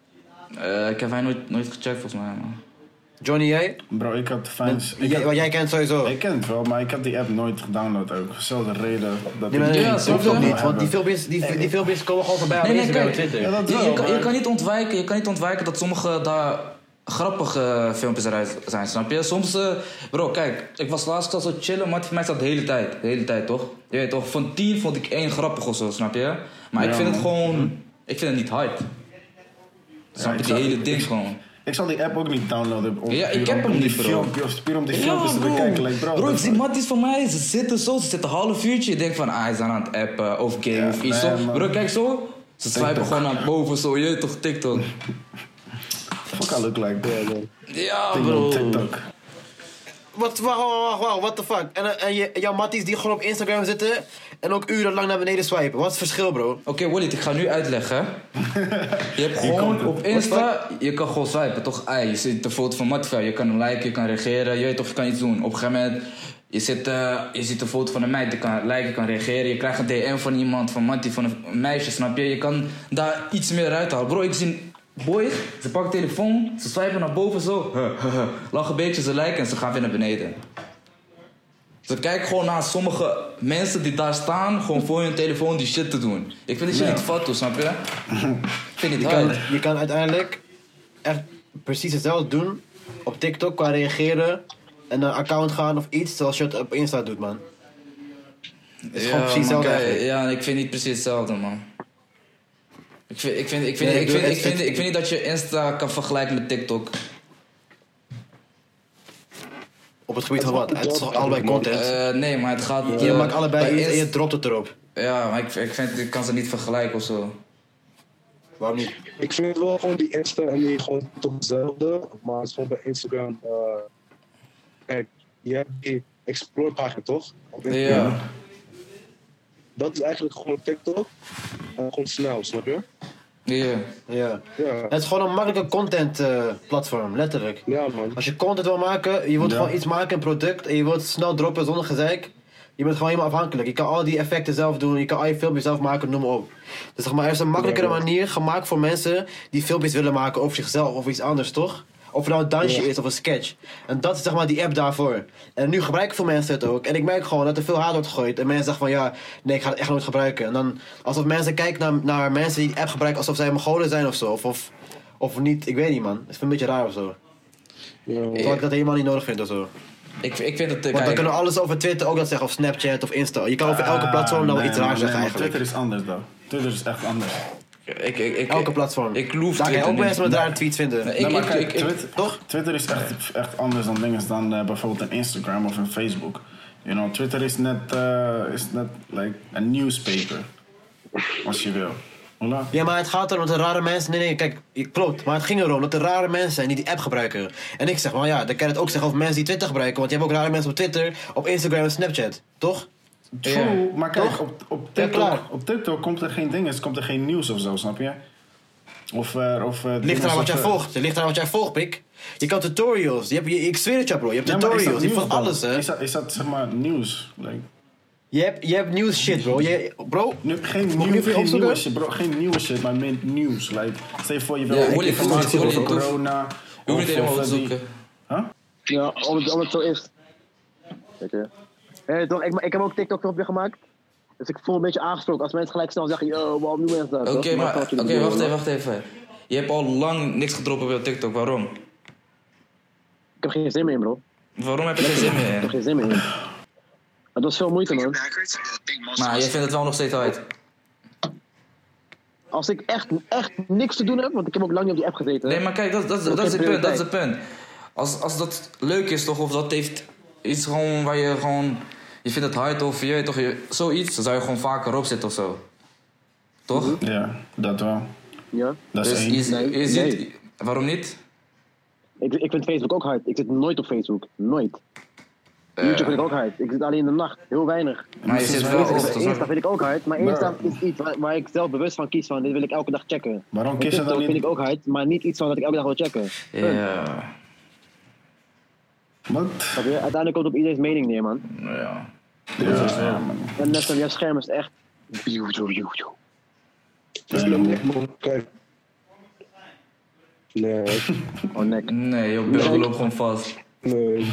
Speaker 3: Eh, ik heb hij nooit, nooit gecheckt volgens mij. Man.
Speaker 1: Johnny, jij?
Speaker 2: Bro, ik had fans. Ik,
Speaker 1: Jij-
Speaker 2: had-
Speaker 1: Wat jij kent sowieso.
Speaker 2: ik ken het wel, maar ik had die app nooit gedownload ook. Zelfde reden dat
Speaker 1: Nee, maar
Speaker 2: ik
Speaker 1: nee,
Speaker 3: Ja,
Speaker 1: dat
Speaker 3: snap
Speaker 1: hoeft ook
Speaker 3: ik.
Speaker 1: niet, want die filmpjes, die, die filmpjes komen gewoon voorbij op
Speaker 3: Nee, nee,
Speaker 1: Instagram en
Speaker 3: kijk.
Speaker 1: Twitter.
Speaker 2: Ja, dat
Speaker 3: Je,
Speaker 2: wel,
Speaker 3: je, kan, je,
Speaker 2: maar-
Speaker 3: kan niet ontwijken, je kan niet ontwijken dat sommige daar grappige filmpjes eruit zijn, snap je? Soms, eh, bro, kijk, ik was laatst al zo chillen, maar voor mij staat de hele tijd. De hele tijd, toch? Je weet toch, van tien vond ik één grappig of zo, snap je? Maar ik
Speaker 2: Ja,
Speaker 3: vind het
Speaker 2: man.
Speaker 3: gewoon, ik vind het niet hype. Snap je,
Speaker 2: ik
Speaker 3: die
Speaker 2: zou-
Speaker 3: hele
Speaker 2: ik-
Speaker 3: ding
Speaker 2: ik-
Speaker 3: gewoon.
Speaker 2: Ik zal die app ook niet downloaden. Om,
Speaker 3: Ja, ik
Speaker 2: puur
Speaker 3: heb
Speaker 2: om-
Speaker 3: hem
Speaker 2: om die
Speaker 3: niet, bro.
Speaker 2: filmpjes- Puur om die filmpjes te
Speaker 3: bro.
Speaker 2: bekijken. Like, bro,
Speaker 3: bro, ik
Speaker 2: dat-
Speaker 3: zie matties van mij, ze zitten zo, ze zitten een half uurtje. Ik denk van, ah, ze zijn aan het appen of game
Speaker 2: Ja,
Speaker 3: of iets.
Speaker 2: nee,
Speaker 3: zo.
Speaker 2: man.
Speaker 3: bro, kijk zo. Ze swipen gewoon naar boven zo, je weet toch, TikTok.
Speaker 2: Fuck, I look like that.
Speaker 4: Ja, man.
Speaker 3: Ja,
Speaker 2: Thing
Speaker 3: bro.
Speaker 2: on TikTok.
Speaker 1: Wat, wacht, wacht, wacht, wacht, what the fuck? En, eh, en je, jouw matties die gewoon op Instagram zitten en ook urenlang naar beneden swipen. Wat is het verschil, bro?
Speaker 3: Oké, Walid, ik ga nu uitleggen. Je hebt
Speaker 2: komt
Speaker 3: gewoon
Speaker 2: het.
Speaker 3: op Insta, je kan gewoon swipen, toch? Ah, je ziet de foto van Matvel, je kan hem liken, je kan reageren, je weet toch, je kan iets doen. Op een gegeven moment, je, zit, eh, je ziet de foto van een meid, je kan liken, je kan reageren. Je krijgt een DM van iemand, van Mattie, van een meisje, snap je? Je kan daar iets meer uithalen. Bro, ik zie boys, ze pakken telefoon, ze swipen naar boven zo. Lachen een beetje, ze liken en ze gaan weer naar beneden. Ze kijken gewoon naar sommige mensen die daar staan, gewoon voor hun telefoon die shit te doen. Ik vind die shit
Speaker 2: Ja.
Speaker 3: niet fat, snap je? Ik vind het
Speaker 1: Je kan,
Speaker 3: hard.
Speaker 1: je kan uiteindelijk echt precies hetzelfde doen op TikTok qua reageren en naar een account gaan of iets zoals je het op Insta doet, man. is gewoon precies
Speaker 3: man,
Speaker 1: hetzelfde
Speaker 3: kijk,
Speaker 1: eigenlijk.
Speaker 3: Ja, ik vind niet precies hetzelfde, man. Ik vind, ik vind, ik vind,
Speaker 1: Nee,
Speaker 3: ik
Speaker 1: ik
Speaker 3: vind,
Speaker 1: bedoel,
Speaker 3: ik vind,
Speaker 1: het-
Speaker 3: ik vind niet dat je Insta kan vergelijken met TikTok.
Speaker 1: Op het gebied van wat? Het is toch allebei content?
Speaker 3: Eh, nee, maar het gaat...
Speaker 1: Je
Speaker 3: eh,
Speaker 1: maakt allebei
Speaker 3: bij
Speaker 1: iets en je
Speaker 3: Inst-
Speaker 1: dropt het erop.
Speaker 3: Ja, maar ik, ik, vind, ik kan ze niet vergelijken of zo.
Speaker 7: Waarom niet?
Speaker 4: Ik vind wel gewoon die Insta en die gewoon toch hetzelfde. Maar het is gewoon bij Instagram. eh, kijk, je hebt die explore pagina toch? Op Instagram.
Speaker 3: Ja.
Speaker 4: Dat is eigenlijk gewoon TikTok. en gewoon snel, snap je?
Speaker 3: Ja.
Speaker 1: Ja.
Speaker 4: Ja,
Speaker 1: Het is gewoon een makkelijke content eh, platform, letterlijk.
Speaker 4: ja man.
Speaker 1: Als je content wil maken, je wilt
Speaker 2: Ja.
Speaker 1: gewoon iets maken, een product, en je wilt snel droppen zonder gezeik. Je bent gewoon helemaal afhankelijk. Je kan al die effecten zelf doen, je kan al je filmpjes zelf maken, noem maar op. Dus zeg maar, er is een makkelijkere manier gemaakt voor mensen die filmpjes willen maken over zichzelf of iets anders, toch? Of het nou een dansje is of een sketch. En dat is zeg maar die app daarvoor. En nu gebruiken veel mensen het ook. En ik merk gewoon dat er veel haat wordt gegooid. En mensen zeggen van ja, nee, ik ga het echt nooit gebruiken. En dan alsof mensen kijken naar, naar mensen die die app gebruiken alsof zij Mongolen zijn of zo. Of, of, of niet, ik weet niet man. Het is een beetje raar of zo.
Speaker 4: Ja, man.
Speaker 1: Terwijl ik dat helemaal niet nodig vind of zo.
Speaker 3: Ik, ik vind het...
Speaker 1: Want
Speaker 3: eh,
Speaker 1: dan
Speaker 3: kijk, Ah,
Speaker 1: kunnen we alles over Twitter ook dat zeggen, of Snapchat of Insta. Je kan over elke platform nou iets raar zeggen eigenlijk.
Speaker 2: Twitter is anders, dan. Twitter is echt anders.
Speaker 3: ik, ik, ik,
Speaker 1: Elke platform.
Speaker 3: Ik loef
Speaker 1: Daar kan je
Speaker 3: Twitter
Speaker 1: ook
Speaker 3: niet.
Speaker 1: mensen met rare tweets vinden.
Speaker 3: Nee,
Speaker 2: Nou,
Speaker 3: ik,
Speaker 2: maar
Speaker 3: ik,
Speaker 2: kijk,
Speaker 3: ik, ik-
Speaker 2: Twit-
Speaker 1: toch?
Speaker 2: Twitter is echt, echt anders dan dingen dan eh, bijvoorbeeld een Instagram of een Facebook. You know, Twitter is net, eh, is net like een newspaper. Als je wil. Voilà.
Speaker 1: Ja, maar het gaat erom dat er rare mensen. Nee, nee, kijk, je- klopt. Maar het ging erom dat er rare mensen zijn die die app gebruiken. En ik zeg, maar ja, dan kan je het ook zeggen over mensen die Twitter gebruiken. Want je hebt ook rare mensen op Twitter, op Instagram en Snapchat. Toch?
Speaker 2: True, maar kijk, op, op, TikTok,
Speaker 1: klaar.
Speaker 2: op TikTok komt er geen dingen, komt er geen nieuws of zo, snap je? Of, eh of eh,
Speaker 1: Het
Speaker 2: dingen
Speaker 1: ligt eraan wat jij
Speaker 2: zoals, eh,
Speaker 1: volgt. Het ligt eraan wat jij volgt, pik. Je kan tutorials. Je hebt, je, ik zweer het je, bro. Je hebt
Speaker 2: Ja, maar is dat
Speaker 1: tutorials. Je
Speaker 2: nieuws
Speaker 1: volgt
Speaker 2: dan?
Speaker 1: alles, hè.
Speaker 2: Is dat, is dat zeg maar nieuws? Like,
Speaker 1: Je hebt, je hebt nieuws shit, bro. Je, bro,
Speaker 2: nu, geen
Speaker 1: ik nu
Speaker 2: nieuw,
Speaker 1: even
Speaker 2: geen
Speaker 1: opzoeken?
Speaker 2: nieuwe shit, bro. Geen nieuwe shit, maar meer nieuws. Like, stel je voor je wil
Speaker 3: Ja, hoor je,
Speaker 2: informatie
Speaker 3: hoor je,
Speaker 2: over
Speaker 3: hoor je,
Speaker 2: corona.
Speaker 3: je
Speaker 2: of-
Speaker 3: moet het helemaal
Speaker 2: of, eh, die-
Speaker 3: opzoeken.
Speaker 7: Ja, om het, om het zo is. Weet je? Nee, toch, Eh, ik, ik heb ook TikTok filmpje gemaakt. Dus ik voel me een beetje aangesproken als mensen gelijk snel zeggen, yo, waarom doen mensen dat?
Speaker 3: Oké,
Speaker 7: Dat is
Speaker 3: maar...
Speaker 7: wat
Speaker 3: Oké,
Speaker 7: jullie doen,
Speaker 3: wacht
Speaker 7: man.
Speaker 3: even, wacht even. Je hebt al lang niks gedropt op je TikTok. Waarom?
Speaker 7: Ik heb geen zin meer in, bro.
Speaker 3: Waarom heb je geen zin meer
Speaker 7: Ik heb
Speaker 3: in?
Speaker 7: geen zin meer in. Het was veel moeite, man.
Speaker 3: Maar je vindt het wel nog steeds uit.
Speaker 7: Als ik echt, echt niks te doen heb, want ik heb ook lang niet op die app gezeten.
Speaker 3: Nee, maar kijk, dat, dat, dat,
Speaker 7: Wat
Speaker 3: is
Speaker 7: geen
Speaker 3: het punt. Dat is
Speaker 7: prioriteit.
Speaker 3: het punt. Als, als dat leuk is, toch? Of dat heeft iets gewoon waar je gewoon... Je vindt het hard of je, weet toch, je, zoiets. Dan zou je gewoon vaker op zitten of zo. Toch?
Speaker 2: Ja, dat wel.
Speaker 7: Ja.
Speaker 2: Dat is
Speaker 3: Dus
Speaker 2: één.
Speaker 3: je,
Speaker 7: Mhm. Nee,
Speaker 3: je ziet...
Speaker 7: nee.
Speaker 3: Waarom niet?
Speaker 7: Ik, ik vind Facebook ook hard. Ik zit nooit op Facebook. Nooit.
Speaker 2: Eh.
Speaker 7: YouTube vind ik ook hard. Ik zit alleen in de nacht. Heel weinig.
Speaker 3: Maar je
Speaker 2: Sinds
Speaker 3: zit
Speaker 2: wanneer
Speaker 3: wel
Speaker 2: Oh, is
Speaker 3: op.
Speaker 2: het
Speaker 3: toch?
Speaker 7: Insta vind ik ook hard, maar Insta
Speaker 2: Maar-
Speaker 7: is iets waar, waar ik zelf bewust van kies van. Dit wil ik elke dag checken.
Speaker 2: Waarom
Speaker 7: En
Speaker 2: kies je dan
Speaker 7: TikTok
Speaker 2: niet-
Speaker 7: vind ik ook hard, maar niet iets van dat ik elke dag wil checken.
Speaker 3: Ja.
Speaker 2: Wat?
Speaker 7: Snap je? Uiteindelijk komt het op iedereen's mening neer, man.
Speaker 3: Ja.
Speaker 2: Ja, ja, man.
Speaker 7: En net zo'n jouw scherm is echt...
Speaker 4: Ik ben niet, man. Kijk. Nee,
Speaker 7: Oh, nek.
Speaker 3: Nee, joh, Burger loopt gewoon vast.
Speaker 4: nee.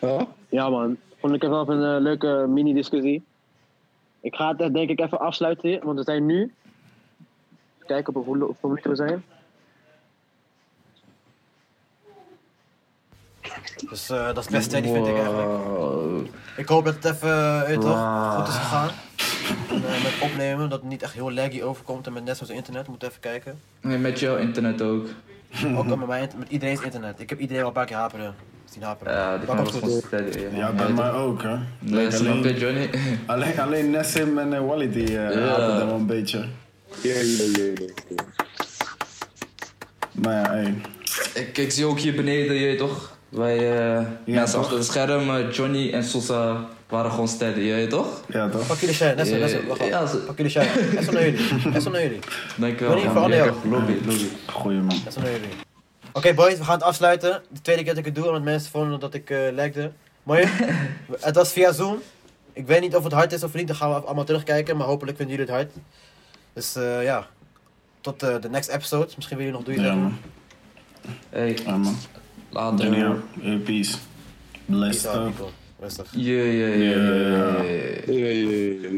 Speaker 4: Huh?
Speaker 7: Ja, man. Vond ik even wel een eh, leuke mini-discussie. Ik ga het eh, denk ik even afsluiten hier, want we zijn nu... Even Kijken op hoe- hoeveel minuten we zijn.
Speaker 1: Dus eh, dat is best steady, vind ik eigenlijk. Ik hoop dat het even eh, weet je toch, goed is gegaan. En, eh, met opnemen, dat het niet echt heel laggy overkomt. En met net zoals internet, moet even kijken.
Speaker 3: Nee, met jouw internet ook.
Speaker 1: Ook met, mijn, int- met iedereen's internet. Ik heb iedereen al een paar keer haperen. Zien haperen.
Speaker 3: Ja, Eh, die
Speaker 1: Maar
Speaker 3: kan
Speaker 1: komt
Speaker 3: wel
Speaker 1: goed.
Speaker 3: gewoon steady.
Speaker 2: Ja, bij mij ook, hè.
Speaker 3: Nee,
Speaker 2: Like,
Speaker 3: snap je,
Speaker 2: alleen,
Speaker 3: Eh, Johnny?
Speaker 2: alleen, alleen Nessim en eh, Wally die eh
Speaker 3: Ja.
Speaker 2: hadden dat wel een beetje.
Speaker 4: Ja, ja, ja, ja, ja.
Speaker 2: Maar ja, hey.
Speaker 3: Ik, ik zie ook hier beneden, je weet toch? Wij eh, mensen
Speaker 2: toch?
Speaker 3: achter het scherm, eh, Johnny en Sosa waren gewoon steady, je weet toch?
Speaker 2: Ja, toch?
Speaker 1: Pak jullie shine, Nessun,
Speaker 3: Ja,
Speaker 1: Nessun, wacht
Speaker 3: ja,
Speaker 1: even.
Speaker 3: ze-
Speaker 1: Pak jullie shine. Nessun naar jullie. Nessun naar jullie.
Speaker 3: Dankjewel.
Speaker 1: Johnny,
Speaker 3: man.
Speaker 1: vooral
Speaker 3: Je weet
Speaker 1: jou.
Speaker 3: toch, Lobby, lobby.
Speaker 2: Goeie man.
Speaker 1: Nessun naar jullie. Oké boys, we gaan het afsluiten. De tweede keer dat ik het doe, omdat mensen vonden dat ik eh lijkte. Mooi. het was via Zoom. Ik weet niet of het hard is of niet, dan gaan we allemaal terugkijken. Maar hopelijk vinden jullie het hard. Dus eh, ja, tot eh, de next episode. Misschien wil je nog doen.
Speaker 2: Ja, man.
Speaker 3: Hey,
Speaker 2: Ja, man.
Speaker 3: later.
Speaker 2: Jullie ook. Hey, peace. Blessed
Speaker 1: Peace out,
Speaker 2: up.
Speaker 1: people. Rustig.
Speaker 3: Yeah, yeah, yeah, yeah, yeah, yeah.
Speaker 4: Ja, ja, ja, ja.